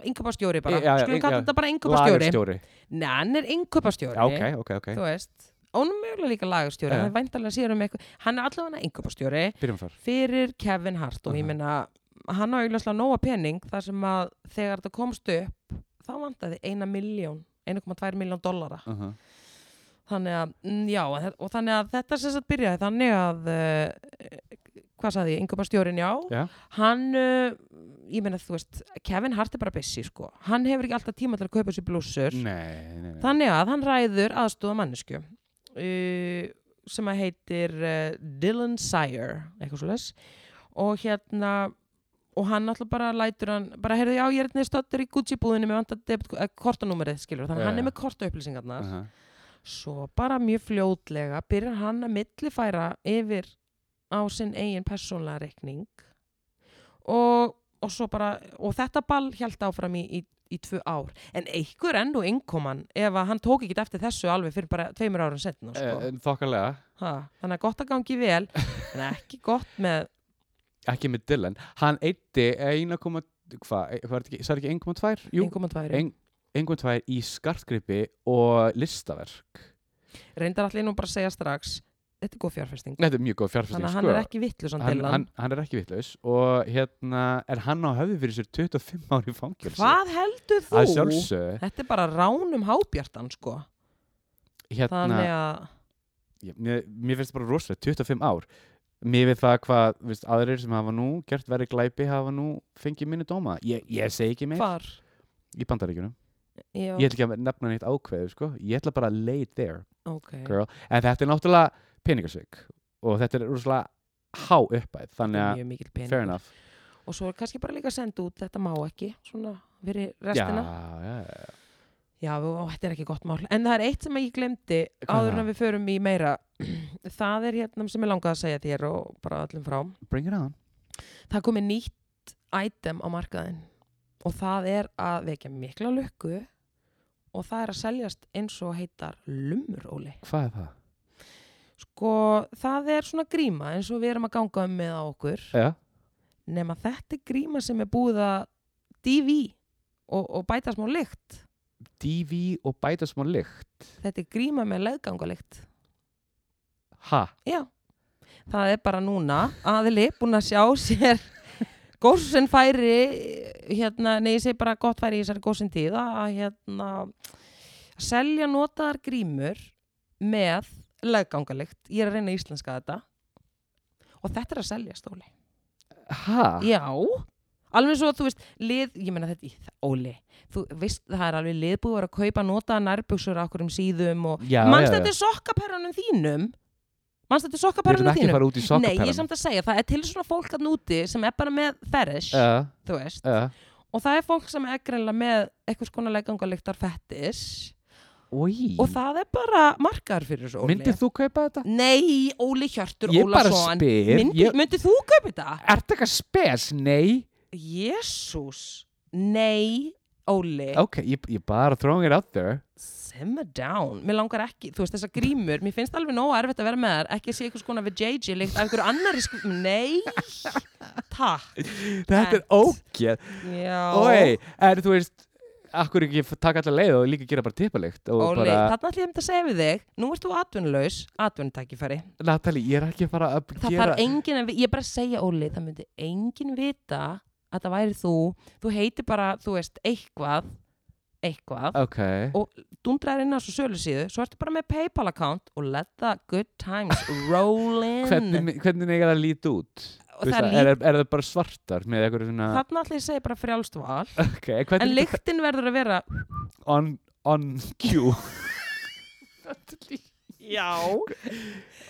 innkaupastjóri bara. Já, já, Skulum já. kalla þetta bara innkaupastjóri. Lagerstjóri. Nei, hann er innkaupastjóri. Já, ok, ok, ok. Þú veist, og hún er mögulega líka lagastjóri, Já. hann er væntalega síður um eitthvað. Hann er allavega innkaupastjóri Byrjum þar. fyrir Kevin Hart og ég Aha. meina, hann á auðvitað nóga pening þar sem að þegar þetta komst upp, þá vantaði eina miljón, 1,2 miljón dollara. Uh -huh. þannig að, mm, já, en þe- og þannig að þetta sem sagt byrjaði þannig að uh, hvað sagði ég, yngöpa stjórin, já Já. hann, uh, ég meina þú veist Kevin Hart er bara busy, sko hann hefur ekki alltaf tíma til að kaupa sér blússur Nei, nei, nei. þannig að hann ræður aðstóða mannesku uh, sem að heitir uh, Dylan Sire eitthvað svo og hérna og hann alltaf bara lætur hann bara heyrðu, já, ég er hérna stöttur í Gucci búðinu með vantar eh, kortanúmerið, skilur þannig að Já, hann er já. með korta upplýsingarnar Uh -huh. Svo bara mjög fljótlega byrjar hann að millifæra yfir á sinn eigin persónlega rekning og, og, svo bara, og þetta ball held áfram í, í, í tvö ár. En einhver enn og innkoman ef að hann tók ekki eftir þessu alveg fyrir bara tveimur árum setna. Eh, Sko. Þokkarlega, Ha, þannig að gott að gangi vel, en ekki gott með, ekki með Dylan Hann eitti 1,2 Hvað, eh, var þetta ekki, sagði ekki 1,2? Jú, innkoman tværi. ein- 1,2 í skartgripi og listaverk Reyndar allir nú bara að segja strax, þetta er góð fjárfesting. Þetta er mjög góð fjárfæsting Þannig að sko. hann er ekki um vittlusan til hann, hann, hann er ekki vitlaus og hérna er hann á höfðu fyrir sér 25 ári fangjálsi Hvað heldur þú? Að sjálfsögðu Þetta er bara ránum hábjartan sko. hérna, Þannig að ég, mér, mér finnst bara rosalega 25 ár Mér við það hvað viðst, aðrir sem hafa nú gert verið glæpi hafa nú fengið minni dóma Ég, ég segi ekki meir hvar í bandaríkjunum Já, Ég ætla ekki að nefna neitt ákveðu sko. Ég ætla bara að lay it there ok. girl. En þetta er náttúrulega peningarsvík og þetta er rosalega há uppæð þannig að Mjög mikill peningur. fair enough og svo er kannski bara líka að senda út þetta má ekki, svona fyrir restina já, já, já, og þetta er ekki gott mál en það er eitt sem ég glemdi Hvað er áður en það? við förum í meira það er hérna sem ég langaði að segja þér og bara öllum frá bring it on það er komið nýtt item á markaðin og það er að vekja mikla lukku og það er að seljast eins og heitar lummuróli hvað er það? sko það er svona gríma eins og við erum að ganga um með á okkur Já. nema þetta er gríma sem er búið að DV og, og bæta smá lykt DV og bæta smá lykt þetta er gríma með leðgangalykt ha, já, það er bara núna aðli búin að sjá sér góðsinn færi hérna, nei ég segi bara gott færi í þessari góðsinn tíð að hérna selja notaðar grímur með leðgangalykt ég er að reyna að íslenska þetta og þetta er að selja stóli ha Já, alveg svo þú veist, lið, ég meina þetta, í- Óli, þú veist það er alveg liðbúið að vera að kaupa notaða nærbuksur á okkur um síðum og já, mannst já, þetta já. er sokkaperranum þínum? Mannst þetta er við erum sokkaperranum ekki að þínum? fara út Nei, í ég sokkaperran er samt að segja, það er til svona fólk að núti sem er bara með ferish, já, þú veist, já og það er fólk sem er greinlega með eitthvað skona legangalíktar fettis Í, og það er bara markaður fyrir þessu, Óli. myndir þú kaupa þetta? Nei, Óli Hjörtur Ég bara Ólason, spyr, myndi, ég- myndi þú kaupa þetta? Er þetta eitthvað spes? Nei Jésús, nei, Óli, Ok, ég, ég bara throwing it out there simmer down. Mér langar ekki, þú veist, þessar grímur, mér finnst alveg nóg erfitt að vera með þær, ekki að sé eitthvað skona við JJ líkt af einhverju annari sko, nei, takk, Þetta er ógeð já, Oi, en þú veist Akkur ekki f- taka allar leið og líka gera bara tippalikt og Óli, bara, þarna ætlum ég einmitt að segja við þig, nú ert þú atvinnulaus, atvinnutækifæri, Natalie, ég er ekki að fara að það gera þarf enginn að, vi- ég er bara að segja Óli, það myndi enginn vita að það væri þú, þú heitir bara, þú veist, eitthvað, eitthvað, Ok, dundrar inn á þessu sölu síðu svo ertu bara með Paypal account og let the good times roll in hvernig, hvernig eiga það að líta út? og það Þú veist er það, líkt, er, er það bara svartar með eitthvað svona þarna ætla ég að segja bara frjálst val Ok, hvernig en er þetta lyktin verður að vera on, on cue já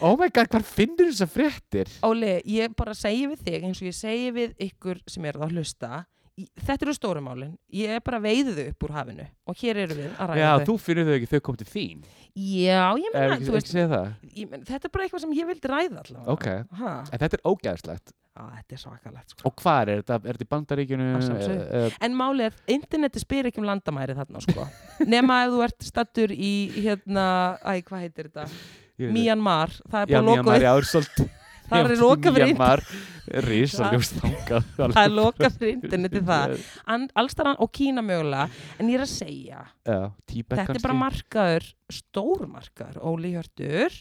Oh my god, hvað finnur þessar fréttir? Óli, ég bara segi við þig eins og ég segi við ykkur sem eru að hlusta í- þetta eru stórumálin, ég er bara veiðið upp úr hafinu og hér eru við að Já, ræða þau þú finnur þau ekki, þau kom til þín já, ég Er meina, ekki, þú ekki veist segja það? ég meina, þetta er bara eitthvað sem ég vildi ræða allavega Ok, ha, en þetta er ógæðslegt á, þetta er svakalegt sko. Og hvað er þetta? Er þetta í bandaríkjunum? Að sjálfsögðu. Eh, eh, En málið er að interneti spyr ekki um landamæri þarna sko. Nema ef þú ert stattur í hérna, æ, hvað heitir þetta? ég veit ekki. Myanmar, það er Já, búið Myanmar, lokað já, er svolítið það er lokað fyrir internet Myanmar, risaljóst þangað Eh, það er lokað fyrir interneti það An, allstaran og Kína mögulega en ég er að segja, Já, Tíbet þetta kannski er bara markaður stórmarkaður, Óli Hjörtur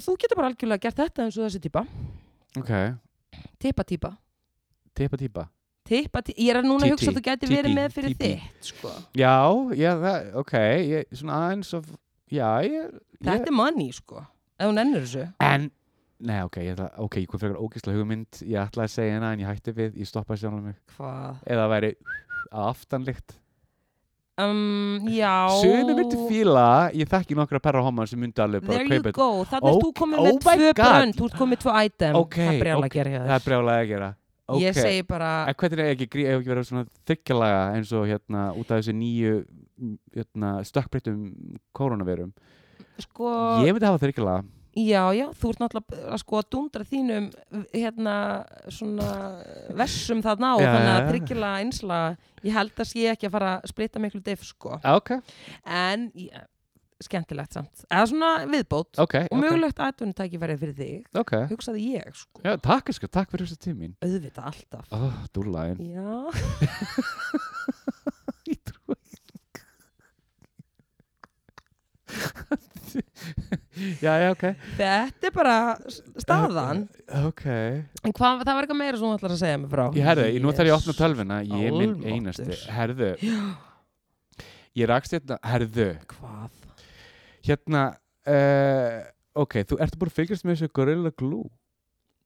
og þú getur bara algjörlega gert þetta eins og þessi típa, Ok, tippa típa típa típa tippa típa, ég er núna að TT, hugsa að þú getur TT, verið með fyrir TT. þitt sko. Já, já, það, ok ég, Svona aðeins of Já, ég, ég þetta er money sko, ef hún ennur þessu En, nei, ok, ég ætla Ok, ég kom frekar ógislega hugmynd Ég ætlaði að segja hana en ég hætti við Ég stoppaði sjálf mig hvað Eða það væri að aftanlikt Um, já Sumir myndi fíla Ég þekki nokkra perra homar sem myndi alveg bara There you kaupa þetta. go, þannig Oh- að þú komið oh með my tvö God. brönd Þú ert komið með tvö item Ok, Það er brjála ok, að gera hjá Það er þér brjálega að gera Ok, Ég segi bara, En hvernig er ekki, grí- ef ekki verið svona þykjalaga eins og hérna út af þessu nýju m, hérna, stökkbreyttum koronavirum? sko Ég myndi hafa þykjalaga. Já, já, þú ert náttúrulega að sko að dundra þínum hérna svona versum þarna og Já, þannig já, að já. tryggjala einsla ég held að sé ekki að fara að splita miklu diff sko, Ok, en ja, skemmtilegt samt, eða svona viðbót ok. og mögulegt atvinnutækifæri fyrir þig Ok. hugsaði ég sko, Já, takk, sko, takk fyrir þessu tímin. auðvitað alltaf Ó, oh, dúlæðin. Já Ég trúi Já, já, ok. Þetta er bara s- staðan Ok. En hvað, það var eitthvað meira sem þú ætlar að segja mig frá Ég herðu, ég nú þarf ég að opna Yes. tölvuna, ég er minn Almáttugur. einasti. Herðu. Ég rakst hérna, herðu. Hvað? Hérna, uh, ok, þú ertu búin að fylgjast með þessu Gorilla Glue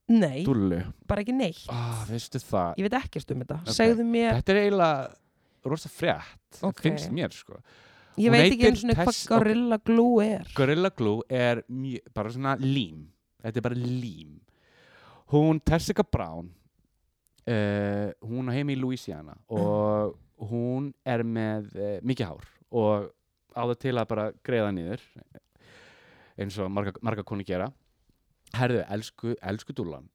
Nei, dúllu. bara ekki neitt Ah, veistu það? Ég veit ekkert um þetta Ok. Segðu mér, Þetta er eiginlega rosa frétt, Ok. finnst mér sko. ég hún veit ekki heitir eins og hvað Tess- ok. Gorilla Glue er Gorilla Glue er mjö, bara svona lím. Þetta er bara lím. Hún, Tessica Brown, uh, hún á heimi í Louisiana og hún er með uh, mikið hár og á það til að bara greiða niður eins og marga, marga koni gera herðu, elsku, elsku dúlan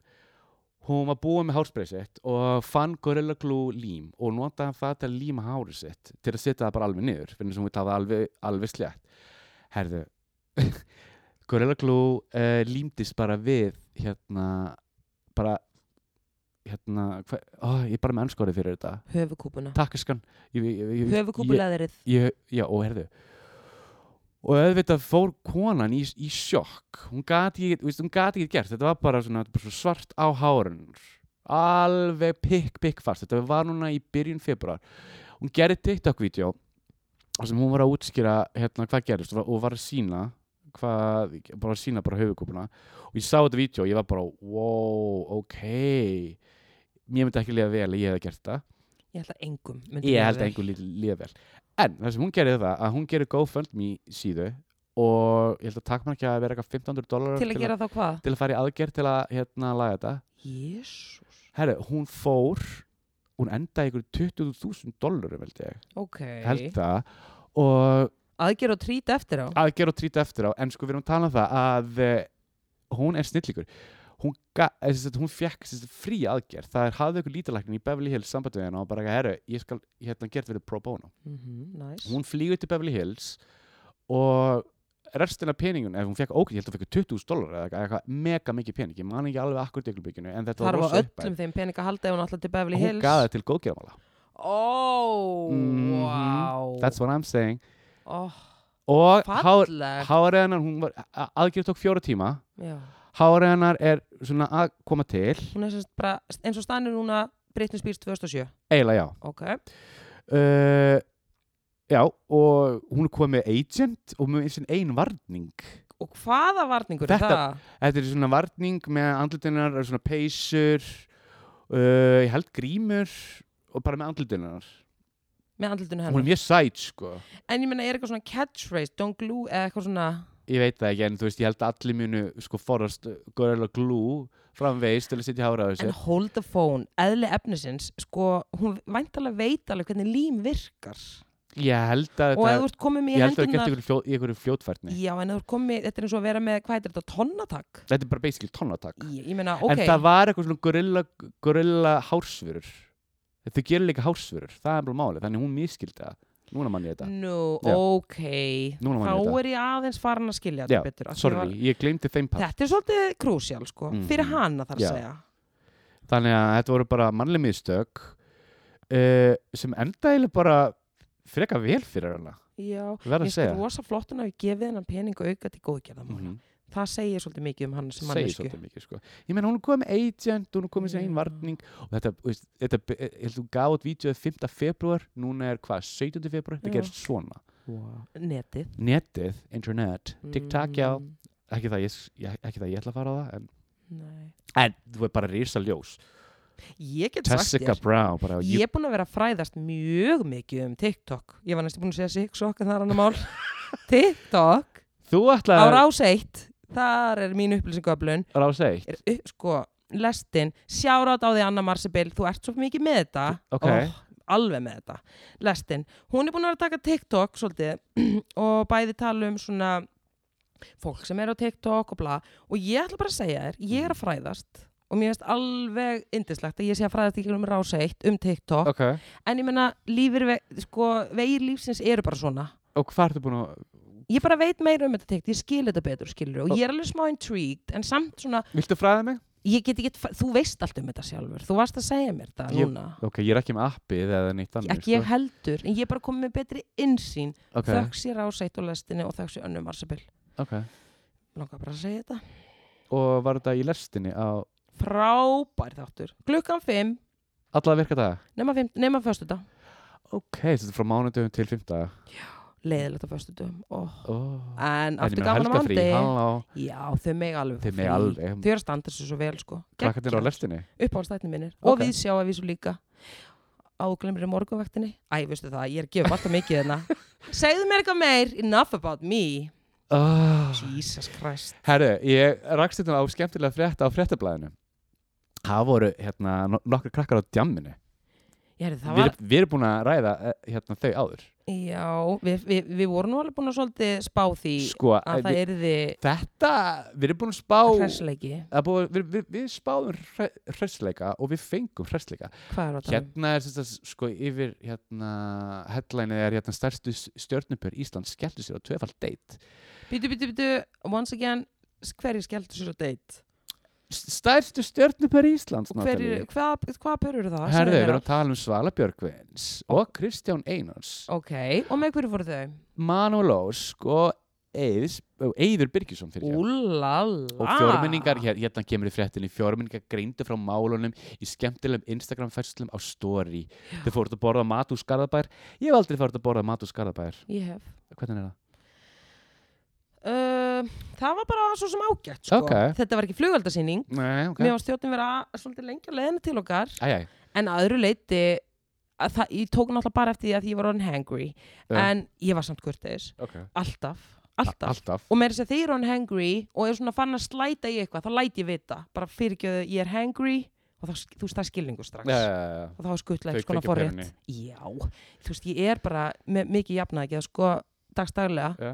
hún var búin með hárspreið sitt og fann Gorilla Glue lím og notaði það til að líma hárið sitt til að setja það bara alveg niður fyrir þess að hún vil hafa það alveg, alveg slétt herðu Gorilla Glue uh, límdist bara við hérna bara hérna hva, ó, ég er bara með anskórið fyrir þetta höfukúpuna takkiskan ég, ég, ég, ég, höfukúpuleðrið ég, já, og herðu og auðvitað fór konan í, í sjokk hún gati ekki, þú veist, hún gati ekki gert þetta var bara svona, þetta var bara svo svart á hárun alveg pikk, pikk fast þetta var núna í byrjun februar hún gerði TikTok-vídeó þar sem hún var að útskýra hérna hvað gerist og var- og var að sína hvað, bara að sína bara höfukúpuna og ég sá þetta vídeo og ég var bara wow, ok mér myndi ekki liða vel að ég hefði gert þetta ég held að engum myndi ég líða held að vel. einhver líði líða vel en það sem hún gerir það að hún gerir GoFundMe síðu og ég held að takk maður ekki að vera eitthvað 1500 dólarar til að gera þá hvað til að fara í aðgerð til að hérna laga þetta jésús herru, hún fór hún endaði ykkur 20.000 dólarum held ég, ok held það og aðgerð og trít eftir á aðgerð og trýta eftir á en sko við erum að tala um það að eh, hún er snillíkur hún, ga- eh, sem sagt, hún fekk sem sagt, frí aðgerð það er hafði ykkur lítalæknin í Beverly Hills sambandi við hennar og bara, herru, ég skal hérna gert verið pro bono mm nice. hún flýgur til Beverly Hills og restin af peningun ef hún fekk ókvæmt, ég held að hún fekk 20.000 dólar eða eitthvað mega mikið pening, ég man ekki alveg akkur deglubíkinu, en þetta var þarf á rosa öllum þeim pening að halda ef hún alltaf til Beverly og hún Hills gaði það til góðgerðamála ó Mhm. wow that's what I'm saying oh, og hár- falleg hárið hennar, hún var a- aðgerð tók fjóra tíma Já. hárið hennar er svona að koma til hún er sem sagt bara eins og stannir núna Britney Spears 2007 eiginlega já ok uh, já, og hún er komið með agent og með sinn ein varning og hvaða varningur er Þetta- það Þetta er svona varning með andlutinnar, svona peysur, uh, ég held grímur og bara með andlutinnar. með andlutinu Hún er hennar mjög sæt, sko. en ég meina er eitthvað svona catchphrase don't glue eða eitthvað svona Ég veit það ekki, en þú veist, ég held að allir munu, sko, forðast uh, Gorilla Glue framvegist til að sitja hára á en þessu. hold the phone, eðli efnisins sko, hún væntalega veit alveg hvernig lím virkar Ég held að og ef þú um þetta, ert komið með í ég held að þetta hendunar gert ykkur fljót, í einhverju fljótfærni. já, en ef þú ert komið, þetta er eins og að vera með hvað heitir þetta, tonnatak Þetta er bara basically tonnatak. ég, ég meina, ok, En það var eitthvað svona gorilla, gorilla hársvörur. Þau gerir líka hársvörur, það er bara málið, þannig hún miskildi það. Núna mann ég þetta. nú, Já. ok Núna man ég þá þetta. er ég aðeins farin að skilja Já, þetta betur af því Sorry, að- ég gleymdi þeim part. þetta er svolítið krúsjál, sko, Mhm. fyrir hana þarf Já. að segja þannig að þetta voru bara mannleg mistök uh, sem endaðileg bara freka vel fyrir hana já, ég verða að sko segja rosa flottun að ég gefið hennan pening og auka til góðgerðamála Mhm. það segir svolítið mikið um hann sem segir mannesku svolítið mikið sko. ég meina hún er komið með agent, hún er komið sem Já. einn varning og þetta, þú veist, þetta be- ég held þú gaf út vítjóðið 5. februar núna er hvað, 17. februar, Já. þetta gerst svona wow. netið netið, internet, tiktok já Mm, ekki það ég, s- ég- ekki það ég ætla að fara á það en, nei. en þú er bara risa ljós ég get Jessica sagt Brown bara, þér you ég er búin að vera að fræðast mjög mikið um TikTok ég var næstu búin að segja TikTok en það er annar mál TikTok þú á ætla rás 1 þar er mín upplýsingablun að rása eitt er upp, sko lestin sjárat á því Anna Marsibil þú ert svo mikið með þetta Ok. alveg með þetta lestin hún er búin að vera að taka TikTok svolítið og bæði tala um svona fólk sem er á TikTok og bla og ég ætla bara að segja þér ég er að fræðast og mér finnst alveg indislegt að ég sé að fræðast ekki um ráseitt um TikTok ok, en ég meina lífir ve sko vegir lífsins eru bara svona og hvað ertu búin að ég bara veit meira um þetta TikTok ég skil þetta betur skilur og ég er alveg smá intrigued en samt svona viltu fræða mig? ég get ekki, þú veist allt um þetta sjálfur þú varst að segja mér þetta Ég- núna Ok, ég er ekki með appið eða neitt annars. ekki ég heldur, en ég er bara komið með betri innsýn Ok, okay. þöggs ég rásætt og lestinni og þöggs ég önnum arsabill ok. langar bara að segja þetta Og var þetta í lestinni á frábær þáttur, klukkan 5 alla virka daga? nema, fimm, nema föstudag, Ok, þetta er frá mánudöfum til fymta. leiðilegt á föstudagum oh. Oh. en aftur gaman á mandi Hallá, já, þau meg alveg þið fá með frí. alveg. þau eru að standa sér svo vel sko Krakkarnir á lestinni. uppáhaldstætni minnir og Ok. við sjá að við svo líka áglemri morgunvektinni æ, veistu það, ég er að gefa alltaf mikið hérna. þarna segðu mér eitthvað meir, enough about me Oh. Ah, Jesus Christ hérna Herru, ég rakst þetta á skemmtilega frétta á fréttablaðinu. það voru hérna no- nokkri krakkar á djamminu Já, heyrðu, það við, var, erum- við erum búin að ræða eh, hérna, þau áður já, við, við, við vorum nú alveg búin að svolítið spá því sko, eh, að það við, yrði þetta, við erum búin að spá hræsleiki. að búið, við, við, við spáðum hressleika og við fengum hressleika Hvað er um? þetta? hérna er þetta sko yfir hérna, headlineið er hérna stærstu stjörnupur Ísland skelltu sér á tvefald date Býtu, býtu, býtu, once again, s- hverjir skelltu sér á date? S- stærstu stjörnupur Íslands Og hverjir, Natalie. hvað, hvað pörur það? Segðu herðu, við mér erum allt. að tala um Svala Björgvins og Kristján Einars Ok, og með hverju voru þau? Manolós og Eiðs, Eiður Byrkjusson fyrir hér Úlala. og fjórmenningar, hér, hérna kemur í fréttinni fjórmenningar greindu frá málunum í skemmtilegum Instagram færslutum á story þau fóruð að borða mat úr skarðabær ég hef aldrei fóruð að borða mat úr skarðabær Ég hef. hvernig er það? Uh, það var bara svo sem ágætt, sko. Ok. Þetta var ekki flugaldarsýning. Nei, ok Mér var stjórnum vera svolítið lengi að leiðina til okkar. Æjæj, En að öðru leiti, að það, ég tók náttúrulega bara eftir því að ég var on hangry. Já. En ég var samt kurteis. ok Alltaf. Alltaf. Alltaf og mér er þess að þegar ég er on hangry og er svona fann að slæta í eitthvað, þá læt ég vita bara fyrirgjöðu, ég er hangry og þá, þú veist það er skilningu strax Já, já, já, já. og þá er skuttlega Þau eitthvað svona kveikja á perunni. forrétt já, þú veist, ég er bara með mikið jafnaði ekki, sko, dagstaglega Já.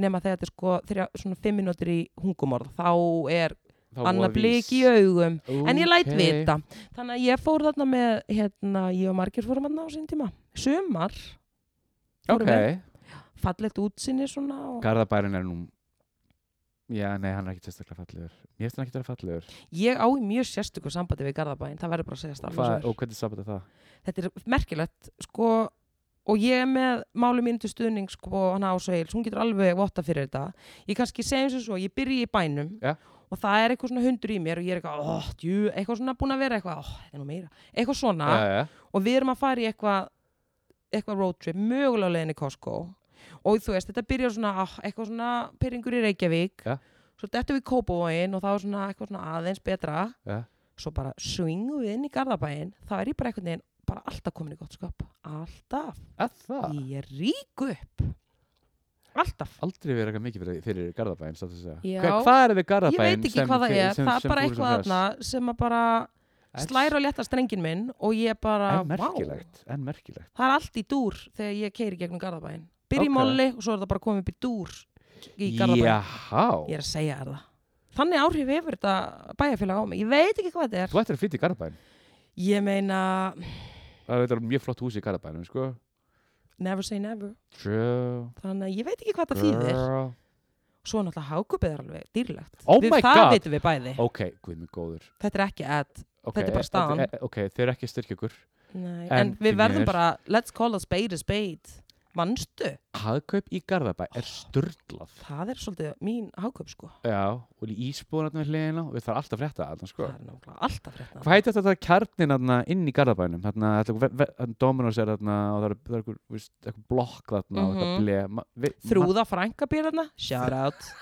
nema þegar þetta er sko þrjá, svona fimm minútur í hungumorð þá er Þá annað voru blik í vís. augum en ég læt Ókei. vita þannig að ég fór þarna með hérna, ég og margir fórum þarna á sín tíma sumar, fórum Ok, fallegt útsinni svona og... Garðabærin er nú Já, nei, hann er ekki sérstaklega fallegur Mér finnst hann ekki vera fallegur ég á í mjög sérstöku sambandi við Garðabæinn, það verður bara að segja starfa Hva- Og hvernig sabat er það? þetta er merkilegt sko, og ég er með máli mínu til stuðning sko, hann ásveils, hún getur alveg votta fyrir þetta ég kannski segjum sem svo, ég byrji í bænum Já. og það er eitthvað svona hundur í mér og ég er eitthvað, óh, djú, eitthvað svona búin að vera eitthvað, óh, þetta er nú meira, eitthvað svona Já, já, já. og við erum að fara í eitthvað eitthvað roadtrip, mögulega á leiðinni í Costco og þú veist, þetta byrjar svona ah, eitthvað svona pyrringur í Reykjavík Ja. svo dettum við í Kópavóin og þá er svona eitthvað svona aðeins betra Ja. svo bara swingum við inn í Garðabæin þá er ég bara einhvern veginn, bara alltaf komin í gott skap alltaf, Að það? ég er rík upp alltaf aldrei verið eitthvað mikið fyrir, fyrir Garðabæn satt að segja. Já. Hva, hvað er við ég Garðabæn? veit ekki hvað það er, það er bara eitthvað aðna aðna sem að bara slæra og létta strengin minn og ég bara, en vá, merkilegt, en merkilegt það er allt í dúr þegar ég keiri gegnum Garðabæin byrja Ok. í molli og svo er það bara komið upp í dúr í Garðabæin ég Jaha, er að segja þér það þannig áhrif hefur þetta bæjarfélag á mig ég veit ekki hvað þetta er þú ættir að flytja í Garðabæn ég meina, það er mjög flott hús í Garðabænum sko. never say never True, þannig að ég veit ekki hvað það þýðir girl svo náttúrulega hákupið er alveg dýrlegt Oh við, my það God. Oh. vitum við bæði Ok, guð minn góður þetta er ekki ad Ok, Þetta er bara staðan. e- e- Ok, þeir eru ekki að styrkja ykkur Nei, en, En því við verðum miður. bara let's call a spade a spade mannstu, Hagkaup í Garðabæ er störnlað það er svolítið mín hákup sko, Já, og í ísbúðan við hliðina og við þarf alltaf frétta þarna, sko. það er náttúrulega alltaf fréttan Hvað heitir þetta þetta kjarnin þarna inn í Garðabænum? Þarna, þetta er eitthvað, Dominos er þarna og það er, það er eitthvað, þú veist, eitthvað blokk þarna og Mhm. eitthvað bleið. Ma- við- ma- Þrúða frænka býr þarna Shout out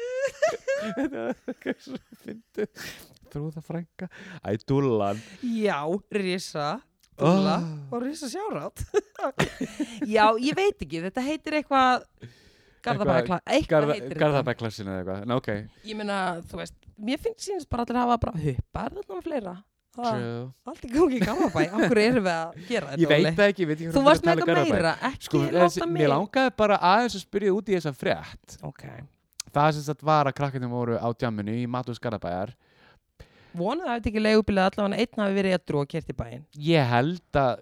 Þetta er svo fyndið. Þrúða frænka. Æ, dúllan. Já, Risa Dúlla Ah. og Risa Sjárat Já, ég veit ekki, þetta heitir eitthvað Garðabækla Eitthvað Garða, heitir þetta Garðabæklassin eða eitthvað. Ná, ok. Ég meina, þú veist, mér finnst sínist bara allir hafa bara huppar þarna og fleira Það er True. Allt í gangi í Garðabæ, okkur erum við að gera þetta Ég veit Óli? það ekki, ég veit ekki hvað Þú þú ert varst að með tala um eitthvað Garðabæ. meira, ekki Sko, þessi- láta mig mér langaði bara aðeins að spyrja út í þessa frétt. Ok, Það sem sagt var að krakkarnir voru á djamminu í Matús Garðabæjar vonuðu að þetta ekki leigubilið allavega einn hafi verið edru og kert í bæinn Ég held að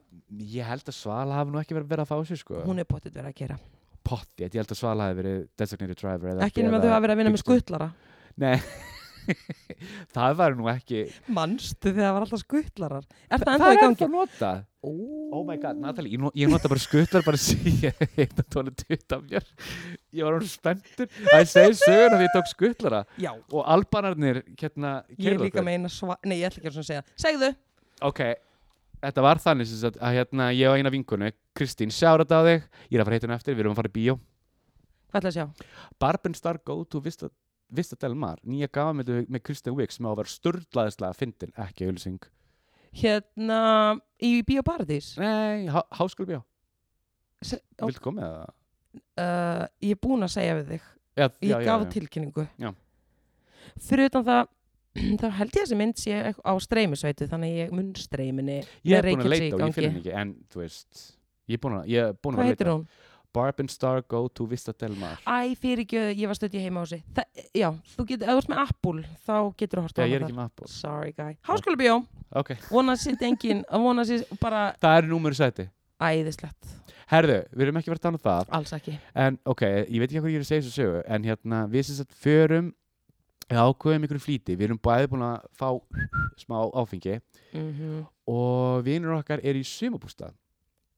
ég held að Svala hafi nú ekki verið verið að fá sér sko Hún er potið verið að gera pottið, ég held að Svala hafi verið designated driver eða Ekki nema þau hafi verið að vinna með skuttlara Það var nú ekki Manstu þegar það var alltaf skuttlarar Er það ennþá Það í er gangi? ennþá notað Oh Oh my god, Natalie, ég, no, ég nota bara skuttlar bara síðan hérna tónu tuta mér Ég var hann spenntur Það er segið söguna því ég tók skuttlara Já, og albanarnir hérna ég er keyrðu líka okkur. meina sva... Nei, ég ætla ekki að svona segja Segðu! Ok, þetta var þannig sem sagt að hérna ég og eina vinkunu Kristín, sjára þetta á þig Ég er að fara heitin eftir, við erum að fara í bíó Hvað ætla að sjá? Barben Star Go to Vista, Vista Del Mar nýja gafamöndu með Kristen Wiig sem á að vera sturdlaðislega fyndin, ekki auðlýsing Hérna, í Bíóparadís Nei, há, háskólbjá, Se... viltu koma með það? uh, Ég er búin að segja við þig já, ég já, já, gaf já. tilkynningu Já. fyrir utan það þá held ég að þessi mynd sé á streymisveitu þannig að ég mun streyminni Ég með er búin að Reykjavík leita og ég finn gangi. henni ekki En þú veist Ég er búin að, ég er búin hvað að heitir leita hún? Ah, Barb and Star go to Vista Del Mar Æ, fyrir ekki, ég var stödd í heima á þessi Já, þú getur, ef þú ert með Apple þá getur þú hort á Já, hana ég er þar ekki með Apple Sorry guy Háskóla bjó, Ok, vona sitt engin vona sitt bara það er númur sæti æðislegt Herðu, við erum ekki verið að tala um það Alls ekki En ok, ég veit ekki hvað ég er að segja þessu sögu En hérna, við sem sagt förum Við ákveðum ykkur flýti Við erum bæði búin að fá smá áfengi mm Og vinur okkar er í sumabústað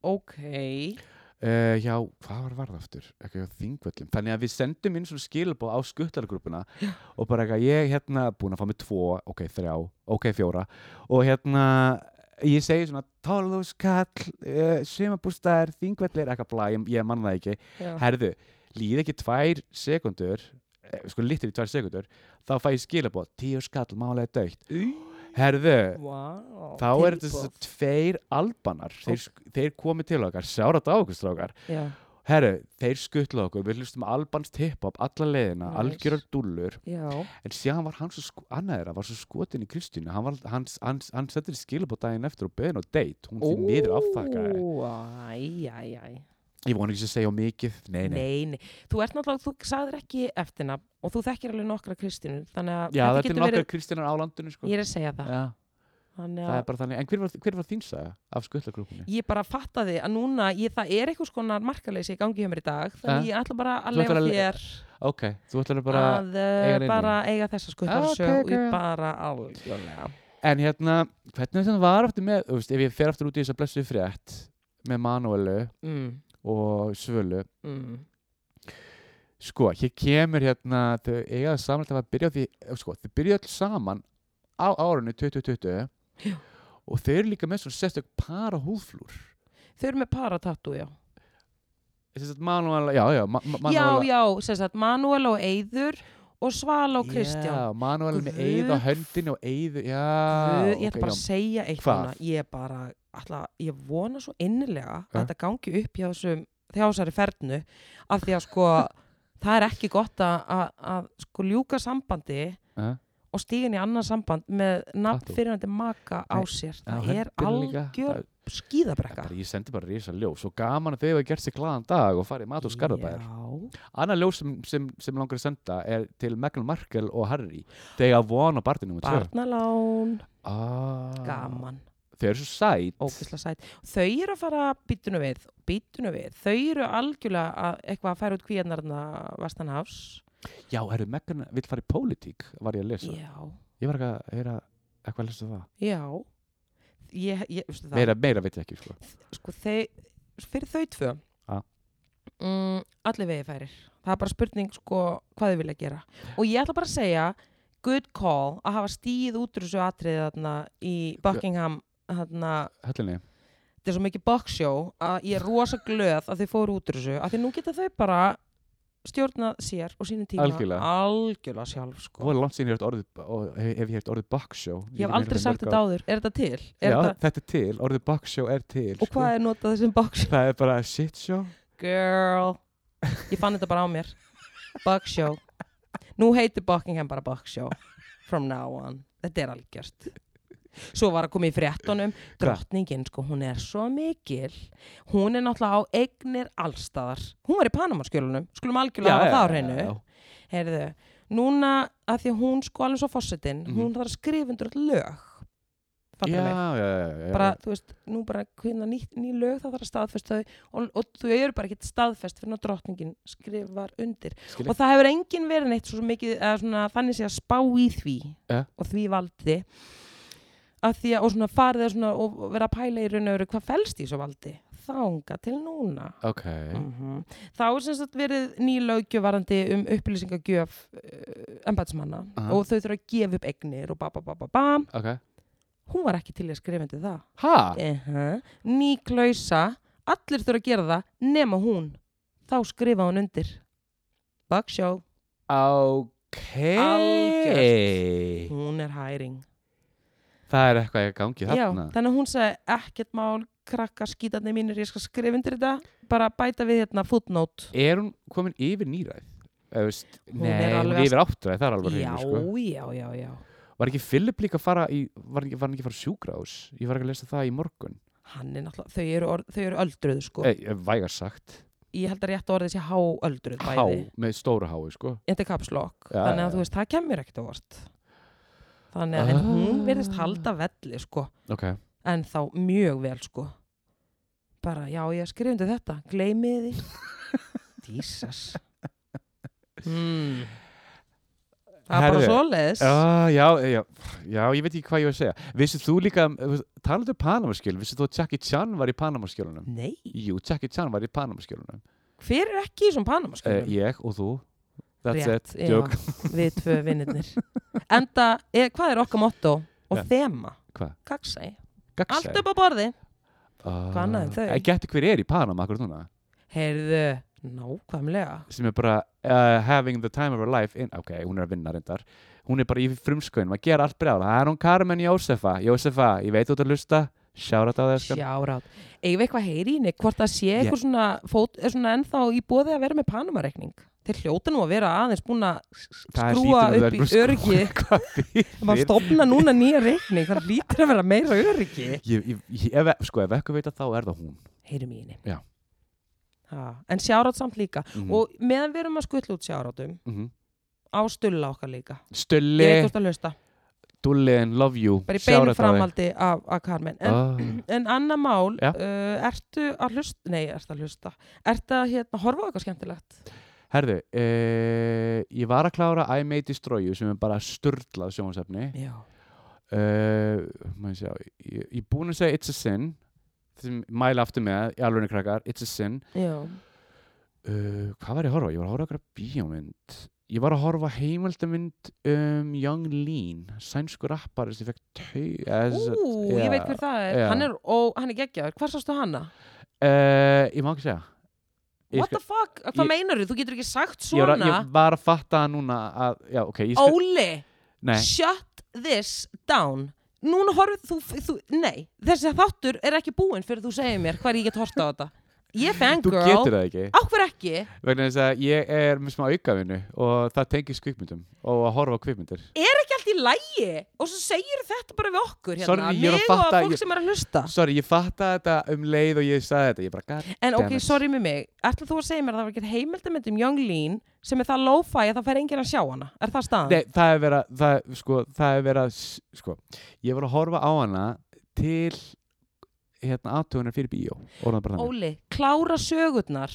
Ok uh, Já, hvað var varð aftur? Eitthvað hjá þingvöllum Þannig að við sendum inn svona skilabóð á skuttlargrúpuna Og bara eitthvað, ég hérna búin að fá mig tvo Ok, þrjá, ok, fjóra Og hérna Ég segi svona, tólús, kall, uh, sumabústaðar, þingvellir, eitthvað blæ, ég, ég manna það ekki. Já. herðu, líð ekki tvær sekundur sko litur í tvær sekundur þá fæ ég skilabóð, tíu skall málega dögt herðu, Wow þá er þetta þess að tveir albanar, þeir, þeir komi til okkar sjárat á okkur strákar Já, herru, þeir skuttla okkur, við hlustum á albans tipp-hop alla leiðina, Nice. algjörar dúllur já en síðan var hann svo, sko, annað þeirra var svo skotin í Kristínu, hann, var- hann, hann, hann settir skilabóð daginn eftir og beðin á date hún því miður afþakkaði, Ó, Æ, æ, æ ég vona ekki að segja of mikið, nei, nei, Nei, nei Þú ert náttúrulega, þú sagðir ekki eftirna og þú þekkir alveg nokkra Kristínu þannig að já, þetta þetta er getur nokkar verið verið... Kristínar á landinu sko. Ég er að segja það Já. Þannig það að er bara þannig, en hver var, hver var þín saga af skuttlagrúpunni? ég bara fattaði að núna ég, það er eitthvað skonar markaleysi í gangi hjá mér í dag þannig Ha? ég ætla bara að Þú leifa ætlar að le- þér Ok, þú ætlar bara, að uh, eiga neinu. bara eiga þessa skuttar Ah, ah, ok, sög ok, okay, já. bara algjörlega en hérna hvernig þetta var aftur með, þú veist, ef ég fer aftur út í þessa blessu frétt með Manuelu mm, og Svölu mm. sko, hér kemur hérna þau eiga saman að byrja á því eh, sko, þau byrja alls saman á árunni 2020 Já. og þau eru líka með svona sérstök para húðflúr þau eru með paratattu já þess að Manuela, já, já, ma ma já, já, sem sagt Manuel og Eyður og Svala og Kristján já, Manuela með Guð. eið á höndinu og eið, já Guð, ég ok, ætla bara já. að segja eitt Hvað? núna. ég bara, ætla, ég vona svo innilega að Ha? þetta gangi upp hjá þessum þjásari fernu af því að sko það er ekki gott að, að, að sko ljúka sambandi Eh? og stígin í annað samband með nafn Tattoo. fyrirandi maka á Nei, sér Já, það er höndin líka, það- algjör skýðabrekka Bara, ég sendi bara risa ljós og gaman að þau hefur gert sér glaðan dag og farið í mat og skarðabæður. Já. Annað ljós sem, sem, sem langar að senda er til Meghan Markle og Harry. Þegar von á barninu um tvö. barnalán, Ah, gaman Þau eru svo sæt. ógisla sætt, þau eru að fara býtunum við, býtunum við þau eru algjörlega að eitthvað að færa út kvíarnarna vestanhafs Já, eru Meghan vill fara í pólitík, var ég að lesa. já, Ég var ekki að heyra eitthvað að lesa um það. já ég, ég, veistu það Meira, meira veit ég ekki, sko. sko þau, fyrir þau tvö Ja. mm, allir vegi færir það er bara spurning sko hvað þau vilja gera og ég ætla bara að segja good call að hafa stíð út úr þessu atriði þarna í Buckingham þarna, Höllinni. þetta er svo mikið boxsjó að ég er rosa glöð að þau fóru út úr þessu af því nú geta þau bara stjórna sér og sínum tíma Algjörlega. algjörlega sjálf sko Hvað er langt síðan ég hef heyrt orðið, og hef, hef ég heyrt orðið baksjó? ég hef aldrei sagt þetta áður, er þetta til? Já, Er þetta, þetta er til, orðið baksjó er til. sko. og hvað er notað þessum boxsjó? Það er bara shit show. girl ég fann þetta bara á mér Buckshow nú heitir Buckingham bara Buckshow from now on, þetta er algjört svo var að koma í fréttonum drottningin sko, hún er svo mikil hún er náttúrulega á eignir allstaðar, hún var í Panamaskjölunum skulum algjörlega hafa það á hreinu heyrðu, núna að því að hún sko alveg svo fósittinn, Mhm. hún þarf að skrifa undir öll lög Já, Fattar mig? já, já, já. bara, þú veist, nú bara hvinna ný, ný lög það þarf að staðfesta þau og, og þú eru bara ekki staðfest fyrir að drottningin skrifar undir Skil og það hefur enginn verið neitt svo mikið eða svona, þannig sé að spá í því Ja. og því valdi að því að, og svona farið að svona, og og vera að pæla í raun og veru hvað felst í svo valdi þanga til núna Ok, -hmm. þá er sem sagt verið ný löggjöfarandi um upplýsingagjöf uh, embatsmanna Aha. og þau þurfa að gefa upp egnir og ba ba ba ba ba ok. hún var ekki til í að skrifa undir það Ha? uh -huh. ný klausa allir þurfa að gera það nema hún þá skrifa hún undir Bugshow, Ok. Algjört. hún er hæring Það er eitthvað í gangi Já, þarna. þannig að hún sagði ekkert mál krakka skítarni mínir, ég skal skrifa undir þetta bara bæta við hérna footnote Er hún komin yfir nýræð? Eða, veist, Hún nei, er hún alveg er að- yfir áttu það er alveg já, hreinu sko. já, já, já var ekki Filip líka að fara í, var, ekki, var hann ekki að fara sjúkrás ég var ekki að lesa það í morgun hann er náttúrulega, þau eru, orð, þau eru öldruð sko. e, vægar sagt, ég held að rétt orðið sé háöldruð há, bæði með stóra hái sko. þetta er kapslokk, Já, þannig að já, já. þú veist það kemur ekkert á vart þannig að en Ah. hún verðist halda velli sko, ok, en þá mjög vel sko bara já ég skrifundi þetta, gleymið því Jesus mm. það er bara Herðu. svoleiðis ah, já, já, já, ég veit ekki hvað ég var að segja vissið þú líka, talaðu um Panamaskjöl vissið þú að Jackie Chan var í Panamaskjölunum nei, jú, Jackie Chan var í Panamaskjölunum hver er ekki í svona e, Panamaskjölum? ég og þú that's Rétt, it, já. joke við tvö vinnirnir enda, er, hvað er okkar motto og Nei. þema? Hvað? Kaksæ, Gagsæ. allt upp á borði Hvað Hvað annað en þau? Ég geti Ah. Eh, hver er í Panama akkur núna heyrðu, nákvæmlega sem er bara uh, having the time of her life in, ok, hún er að vinna reyndar hún er bara í frumskönum að gera allt brjála það er hún Carmen Jósefa Jósefa, ég veit þú ert að hlusta sjárat á þess Sjárát. Eigum við eitthvað heyri í henni? Hvort það sé eitthvað svona, fót, er svona ennþá í bóði að vera með Panama-reikning? Þeir hljóta nú að vera aðeins búin að skrúa upp í öryggi. Maður stopna núna nýja reikning, það lítur að vera meira öryggi. ég, ég, ég, ef, sko, ef eitthvað veit að þá er það hún Heyrum í henni. Já. Ha, en sjárát samt líka. Mhm. Og meðan við erum að skuttla út sjárátum, Mhm. á stulla okkar líka. Ég Stulli, veit hvort að hlusta. Dullin, love you Bara í Shout beinu out á þig. framaldi af, af Carmen. En Ah, En annað mál, Já. uh, ertu að hlusta, nei, ertu að hlusta, ertu að hérna, horfa á eitthvað skemmtilegt? Herðu, uh, ég var að klára I May Destroy You sem er bara sturdlað sjónsefni Já. uh, maður sjá, ég, ég er búin að segja It's a Sin sem ég mæla aftur með í alveg krakkar, It's a Sin Já. uh, hvað var ég að horfa? ég var að horfa okkur bíómynd ég var að horfa heimildamynd um Young Lean, sænsku rappari sem fekk tau eh, Ú, ég veit hver það er. já. Hann er, ó, hann er geggjaður. Hvar sástu hana? uh, ég má ekki segja ég, What the fuck? Hvað ég- meinar þú? Þú getur ekki sagt ég, var svona. að, ég var að fatta núna að, já ok ég skal, Óli, nei, shut this down. Núna horfið þú, þú, nei, þessi þáttur er ekki búinn fyrir þú segir mér hvar ég get horta á þetta. Ég er þú fangirl. getur það ekki Áhver ekki? vegna þess að ég er með smá aukavinnu og það tengis kvikmyndum og að horfa á kvikmyndir Er ekki allt í lægi? Og svo segir þetta bara við okkur hérna. Sorry, ég er að Mig fatta og að ég- fólk sem er að hlusta. Sorry, ég fatta þetta um leið og ég sagði þetta Ég bara gæt En Damn ok, it. sorry með mig, ætla þú að segja mér að það var ekki heimildamind um Young Lean sem er það lo-fi að það fær enginn að sjá hana? Er það staðan? Nei, það er verið að það, sko, það er verið að s- sko, Ég var að horfa á hana til hérna aðtögunar fyrir bíó Orðan bara þannig Óli, klára sögurnar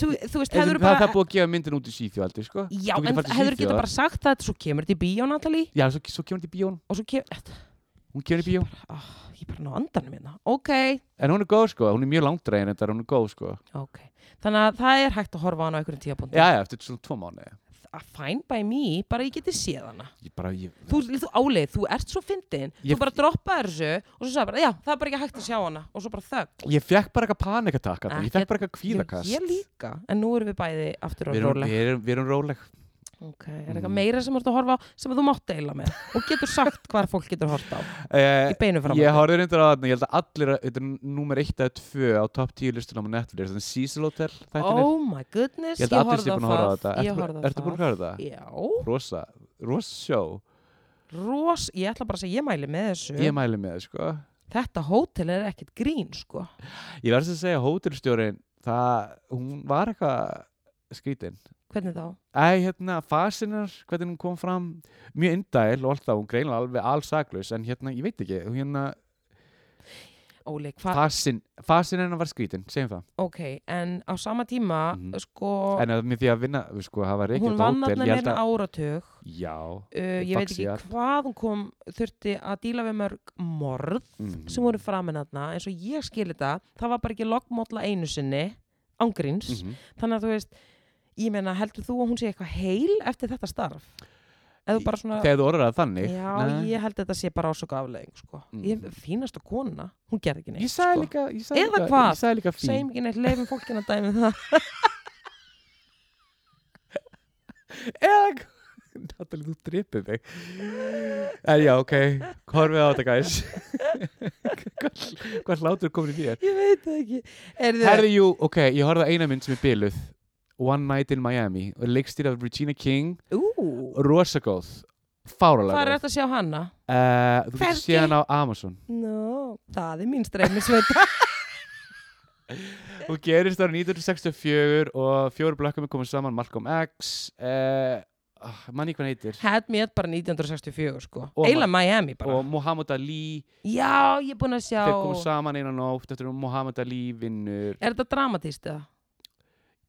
Þú, þú veist, Það, hefur það, bara það er búið að gefa myndin út í Svíþjóaldi sko. Já, Þú getur en farið til hefur geta Svíþjóðar. bara sagt það svo kemur þetta í bíó, Natalie Já, svo, svo kemur hún í bíón og svo kemur, Hún kemur í bíó oh, ég er bara ná andanum hérna Ok, En hún er góð sko, hún er mjög langdregin Þetta er hún er góð sko ok Þannig að það er hægt að horfa á hana á einhverjum tíapunkti Já, já, eftir svona tvo mánu Fine by me, bara ég geti séð hana Ég bara, ég Þú, þú Óli, þú ert svo fyndin Ég- Þú bara droppaðir þessu og svo sagði bara, já, það er bara ekki hægt að sjá hana og svo bara þögg Ég fekk bara eitthvað panikatakka Ég Ekkert- fekk bara eitthvað kvíðakast Ég, ég líka, en nú erum við bæði aftur á Við erum, róleg. við, erum, við erum róleg Ok, er eitthvað Mm. meira sem þú ert að horfa á sem þú mátt deila með og getur sagt hvað fólk getur horfa á eh, í beinu fram Ég horfði reyndar á þarna, ég held að allir að- þetta er númer 1 eða 2 á top 10 listunum á Netflix, þannig Cecil Hotel þættinir. Oh my goodness, ég, ég held að allir horfði á sé búin að horfa á þetta það Ég Ertu, horfði á bú- ertu búin að það horfa á þetta? Já, Rosa, rosa sjó ros, ég ætla bara að segja, ég mæli með þessu Ég mæli með það, sko Þetta hótel er ekkit grín, sko Ég verðs að segja hótelstjórin það, hún var eitthvað skrítin Hvernig þá? Æ, hérna, fasinar, hvernig hún kom fram mjög indæl og allt það, hún greinlega alveg allsaklaus, en hérna, ég veit ekki hún hérna, Óli, hvað? fasin, fasin hennar var skrítin, segjum það Ok, en á sama tíma, Mhm. sko en að með því að vinna, við sko, hafa reykjum Hún vann alltaf meira hérna en áratug Já, uh, Ég veit Faxi, ekki ja. hvað hún kom þurfti að díla við mörg morð mm. sem voru framin aðna, eins og ég skil þetta það var bara ekki loggmólla einu sinni ángríns, -hmm. þannig að þú veist ég meina, heldur þú að hún sé eitthvað heil eftir þetta starf? Eða þú bara svona Þegar þú orðar það þannig Já, Nei. ég held að þetta sé bara ásöku afleðing sko. Mm. ég er fínasta kona, hún gerði ekki neitt Ég sko. sagði líka ég sagði Eða líka- hvað? Ég sagði líka fín segjum ekki neitt, leifum fólkina dæmi það Eða hvað? Natalie, þú dripið mig En já, ok Horfið á þetta, guys Hvað- Hvað hlátur komin í þér? ég veit það ekki Erðu, Herði, jú, ok, ég horfði á eina mynd sem er biluð One Night in Miami og er leikstýr af Regina King Ú, rosagóð, fáralega hvað er góð. þetta að sjá hana? Eh, þú getur Hvergi? séð hann á Amazon Nó, það er mín streymisveita. og gerist ára 1964 og fjóru blökkum er komið saman Malcolm X uh, mann í hvað hann heitir Had me at bara 1964 sko. Og Eila Miami bara. og Muhammad Ali Já, ég er búin að sjá. þeir komu saman einan nótt eftir að Muhammad Ali vinnur Er þetta dramatist eða?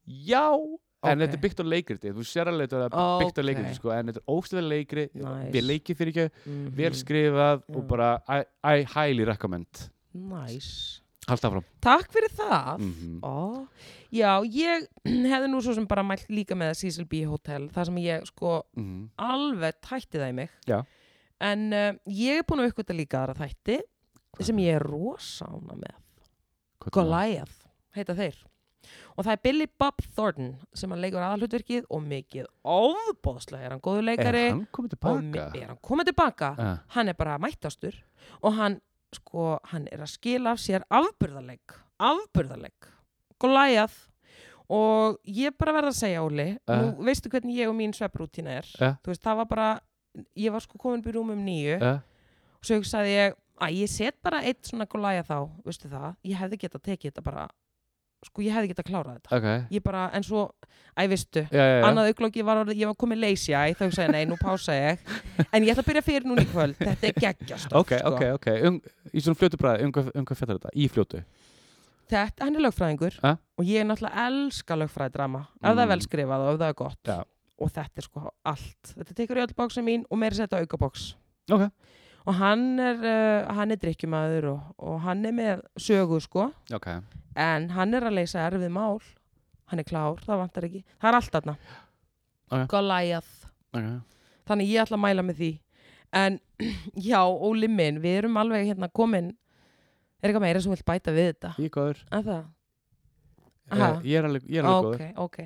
já Ok. en þetta er byggt á leikriti þú sér alveg þetta er byggt á Ok. leikriti sko, en þetta er óstöða leikri Nice. við leikið fyrir ekki Mm vel skrifað og Já. bara I, I highly recommend Nice. halda áfram Takk fyrir það. mm Ó, já, ég hefði nú svo sem bara mælt líka með Cecil B. Hotel, það sem ég sko -hmm. alveg tætti það í mig. Já. En uh, ég er búin að uppgöta líka aðra þætti sem ég er rosána með. Sko, Goliath, heita þeir. Og það er Billy Bob Thornton sem hann leikur aðalhutverkið og mikið óbóðslega er hann góður er leikari. hann komið og mi- tilbaka Er hann komið tilbaka? uh, Hann er bara mættastur og hann, sko, hann er að skila af sér afburðarleik. Afburðarleik. Goliath. Og ég er bara verða að segja, Óli, Eh. nú veistu hvernig ég og mín svepprútína er. Eh. Þú veist, það var bara, ég var sko komin upp í rúmum nýju uh, og svo hugsaði ég að ég set bara eitt svona gulaja þá, veistu það ég hefði getað tekið þetta bara sko ég hefði getað klárað þetta ok ég bara, en svo, æ veistu já, já, já. annað auglóki var orðið, ég var komið leysi æ, þá hugsaði ég, nei, nú pása ég en ég ætla að byrja fyrir núna í kvöld, þetta er sko. geggjast ok, ok, ok um, í svona fljótu bræði, um hvað um hva fjallar þetta? í fljótu þetta, hann er lögfræðingur Ha? og ég er náttúrulega elska lögfræðdrama ef það Mm. er vel skrifað og ef það er gott Já. og þetta er sko allt þetta tekur í öll bóksin mín og meira setja auka bóks Ok. og hann er, uh, hann er drikkjumæður og, og hann er með sögu sko ok, en hann er að leysa erfið mál hann er klár, það vantar ekki það er allt þarna Ok. Goliath ok þannig ég ætla að mæla með því en já, Óli minn, við erum alveg hérna komin er eitthvað meira sem vill bæta við þetta ég er góður, að það? uh, ég er alveg, ég er alveg ok, ok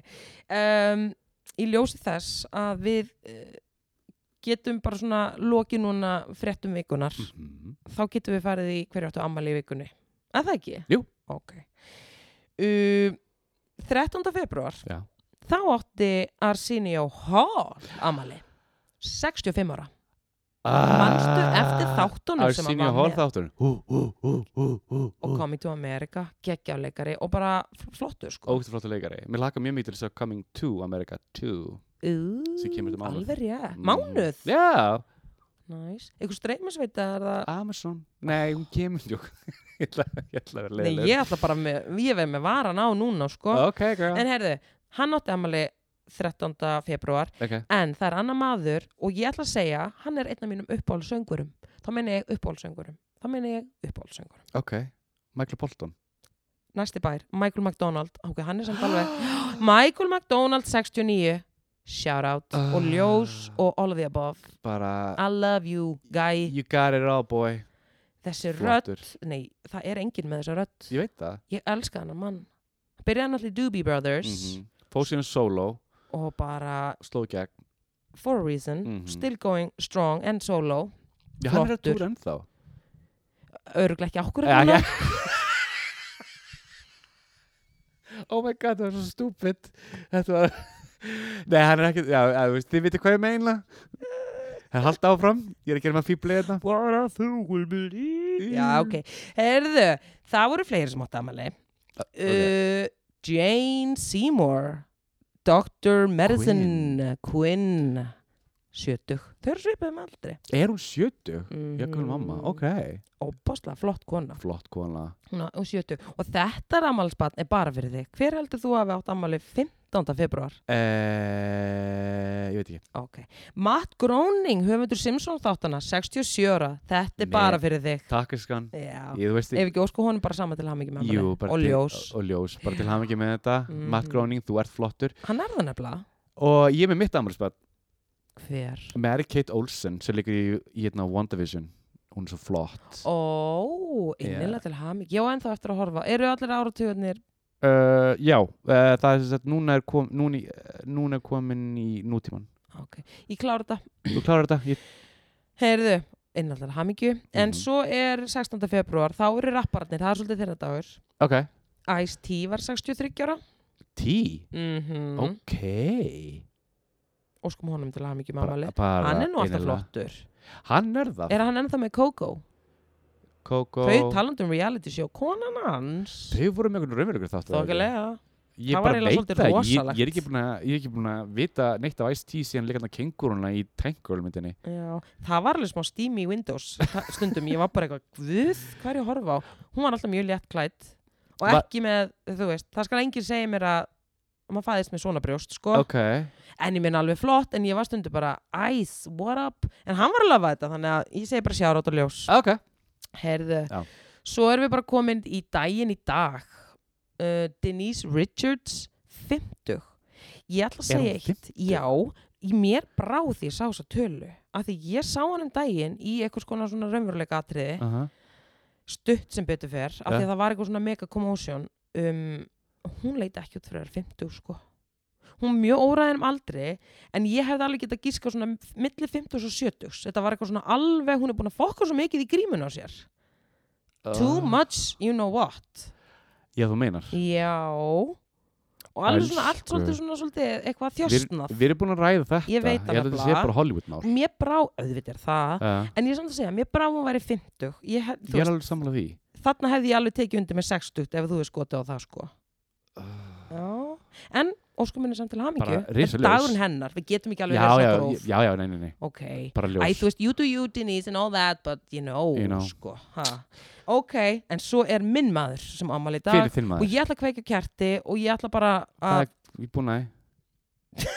um, í ljósi þess að við uh, getum bara svona lokið núna fréttum vikunar góður mm -hmm. þá getum við farið í hverju áttu ammali í vikunni að það ekki? Jú. ok um, 13. februar Já. þá átti Arsenio Hall ammali 65 ára manstu eftir þáttunum sem hann Ah, Arsenio var Hall með þáttunum hú, hú, hú, hú, hú, og hú komið til Amerika, geggjáleikari og bara fl- flottur sko ógstu flottu leikari, mér laka mjög mikið til þess að Coming to America 2 Ú, Sem kemur til mánuð. alveg rétt, Mm. mánuð já, Næs. Eitthvað streymisveita er það Amazon, nei, hún kemur jú. ég ætla ég ætla að vera Nei, leiðilegur. ég ætla bara með, ég verð með varan á núna, sko. ok, girl En heyrðu, hann átti amali 13. februar, ok, en það er annar maður og ég ætla að segja, hann er einn af mínum uppáhaldsöngurum. Þá meina ég uppáhaldsöngurum. Þá meina ég uppáhaldsöngurum. ok Michael Bolton Næsti bær, Michael McDonald. Ok, hann er samt alveg. Michael McDonald 69, shout out, Ah. og ljós og all of the above. bara, I love you, guy. you got it all boy Þessi rödd, flottur, nei, það er enginn með þessa rödd. ég veit það ég elska hann mann byrjaði náttúrulega í Doobie Brothers Mhm. fór síðan solo og bara sló í gegn for a reason Mhm. still going strong and solo Já, hann er að Flottur. túra ennþá öruglega ekki okkur Já, en Eh, já. núna Oh my god, það var svo stúpid Þetta var Nei, hann er ekki, já, já, þú veist, þið veitir hvað ég meina Eh. Hann halda áfram Ég er að gera maður fíblið þetta What I through will believe já ok, herðu það voru fleiri sem áttu amali uh, Jane Seymour Dr. Medicine Quinn, 70 þau eru svipið um aldri Er hún 70? mm Já, hvað mamma, ok og bóstlega flott kona Flott kona Hún á- hún 70. og þetta rammalspann er bara fyrir þig hver heldur þú hafi átt amali 15. februar eh, Ég veit ekki Ok. Matt Groening, höfundur Simpson þáttana, 67 ára. Þetta er Nei. bara fyrir þig. Takkiskan Já. Ég, þú veist, Ef ekki ósku honum bara sama til hann ekki með jú, hann. bara Og til- ljós. Og ljós, bara til hafa með þetta Mhm. Matt Groening, þú ert flottur Hann er það nefnilega. Og ég er með mitt ammarspart Hver? Mary-Kate Olsen sem leikur í, í hérna WandaVision hún er svo flott Ó, innilega til hann ekki. Já, en þá eftir að horfa. Eru allir áratugarnir? uh, já, uh, það er sem sagt núna er, kom, núna, í- eh, núna er komin í nútíman Ok. Ég klára þetta. þú klarar þetta, ég, Heyrðu, innilega til hann ekki. En Mhm. svo er 16. februar, þá eru rappararnir. Það er svolítið þeirra dagur. ok Ice-T var 63 ára. T Mhm. Ok Óskum honum til að hafa mikið Bara- mammalið. bara Hann er nú alltaf innilega. flottur. Hann er það Er hann ennþá með Coco? Coco Þau talandi um reality show, konan hans. Þau voru með einhvern raunverulegur þátt var það ekki? Þokkilega. Ég Það var bara eiginlega veit svolítið það, ekki. ég, rosalegt. ég er ekki búin að- ég er ekki búin að vita neitt af Ice-T síðan leikandar kenguruna í Tank Girl myndinni Já, það var alveg smá steam í Windows ta- stundum, ég var bara eitthvað guð, hvað er ég að horfa á? Hún var alltaf mjög létt klætt og Va- ekki með, þú veist, það skal enginn segja mér að maður fæðist með svona brjóst, sko Ok, en ég minna alveg flott, en ég var stundum bara ice, what up, en hann var alveg að lafa þetta þannig að ég segi bara sjárat og ljós ok Herðu, Já. svo erum við bara komin í daginn í dag uh, Denise Richards 50 Ég ætla að Er hún segja eitt 50? Já, í mér brá því ég sá þessa tölu af því ég sá hann um daginn í eitthvað skona svona raunveruleika atriði uh stutt sem betur fer, af því Ja. að það var eitthvað svona mega commotion um, hún leita ekki út fyrir 50 sko hún er mjög óræðin um aldri en ég hefði alveg getað gíska svona milli 50 og 70 þetta var eitthvað svona alveg, hún er búin að fokka svo mikið í grímun á sér Oh. Too much, you know what Uh-huh. Já, þú meinar Já Og alveg svona allt Elsku. svolítið svona svolítið eitthvað Við þjóstnað við erum búin að ræða þetta Ég veit Mhm. það Ég held að þetta sé nefnilega. bara Hollywood mál Mér brá, auðvitað er það uh, En ég er samt að segja, mér brá hún væri 50 ég, hef- þú Ég er veist, alveg samlega því Þarna hefði ég alveg tekið undir með 60 ef þú er skotið á það sko Já En óskum minni samt til hamingju Ah. Bara En risaljós. dagurinn hennar, við getum ekki alveg Já, verið já, svo gróf. já, já, nei, nei, nei Ok Bara ljós Æ, þú veist, you do you, Denise and all that but you know, You know. sko ha. Ok, en svo er minn maður sem ámali í dag Fyrir þinn og maður ég ætla að kveika kjarti og ég ætla bara Það að er ég er búin að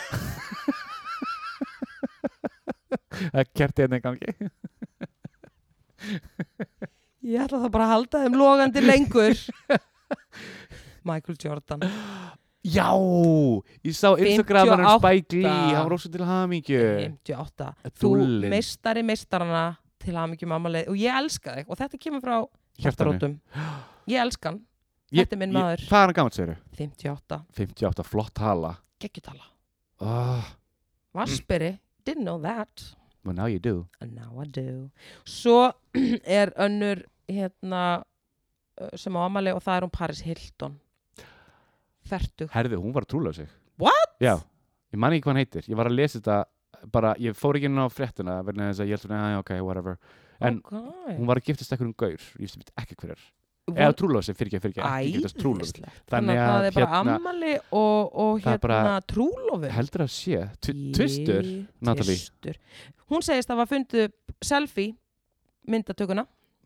Það er kertið hérna í gangi Ég ætla það bara að halda þeim logandi lengur Michael Jordan Já, ég sá Instagraman um 58. Spike Lee, hann var ósum til hamingju 58 Þú Dúllinn. meistari meistarana til að mikið mammaleið og ég elska þig og þetta kemur frá Hjartanu. hjartarótum Ég elska hann, Ég- þetta er minn ég- maður. Hvað er hann gaman, segir 58 58, flott hala geggjutala, oh, Mm. Vasperi didn't know that Well, now you do and now I do Svo er önnur hérna uh, sem á ammali og það er hún Paris Hilton Fertug Herði, hún var að trúlega sig What? Já, ég man ekki hvað hann heitir Ég var að lesa þetta bara, Ég fór ekki inn á fréttina verðin þess að ég held svona, "Ah, ok, whatever En okay. hún var að giftast ekkur um gaur Ég veit ekki hver er Von- Eða trúlega sig, fyrir ekki, fyrir ekki Giftast trúlega Æðislegt. Þannig Þannig að að það er bara hérna- ammali og, og Það er bara- hérna trúlofin. Heldur að sé, Tw- tvistur Natalie? Tvistur. Hún segist að var fundið upp selfie myndatökuna.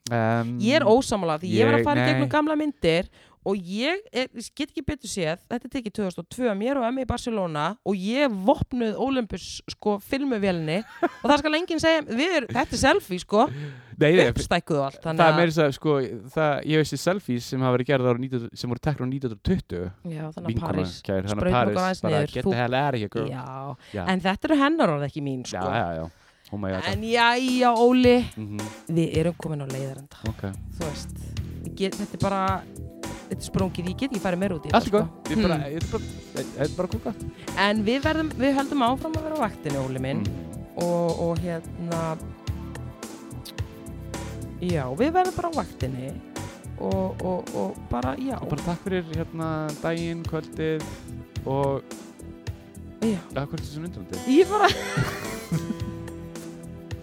um, Ég er ósamála því ég var ég- að fara í nei. gegnum gamla myndir og ég, er, ég get ekki betur séð, þetta er tekið 2002, mér og emmi í Barcelona og ég vopnuð Olympus sko filmuvélni og það skal enginn segja, við erum, þetta er selfie sko, Nei, nei, uppstækuð og allt. þannig Það er að- meira þess að sko, það, ég veist í selfies sem hafa verið gerð ára 19, sem voru tekna á 1920 Já, þannig að vinkona Paris. kær, hann Spraut að okkur Paris, aðeins bara niður, get þú- the hell out of here girl Já, Já, Já. en þetta eru hennar orð ekki mín sko. já, já, oh my god En jæja, Óli, Mhm, við erum komin á leiðarenda, Ok, þú veist. Ég Get, þetta er bara, þetta er sprungið, ég get ekki farið meira út í allt er þetta, góð Ég Hmm. er bara, ég er bara, ég er bara að kúka sko. En við, verðum, við höldum áfram að vera á vaktinu, Óli minn. Mm. Og, og hérna, já, við verðum bara á vaktinni. Og, og, og bara, já, Og bara takk fyrir hérna daginn, kvöldið og já. eða hvort þessu undrandi Ég bara...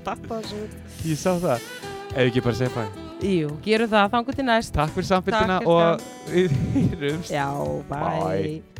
Tappa þessu. Ég sá það Ef ekki bara segja bæ Jú, gerum það, þangu til næst. Takk fyrir samfélgina Takk fyrir og við hýrumst Já, bye. Bye.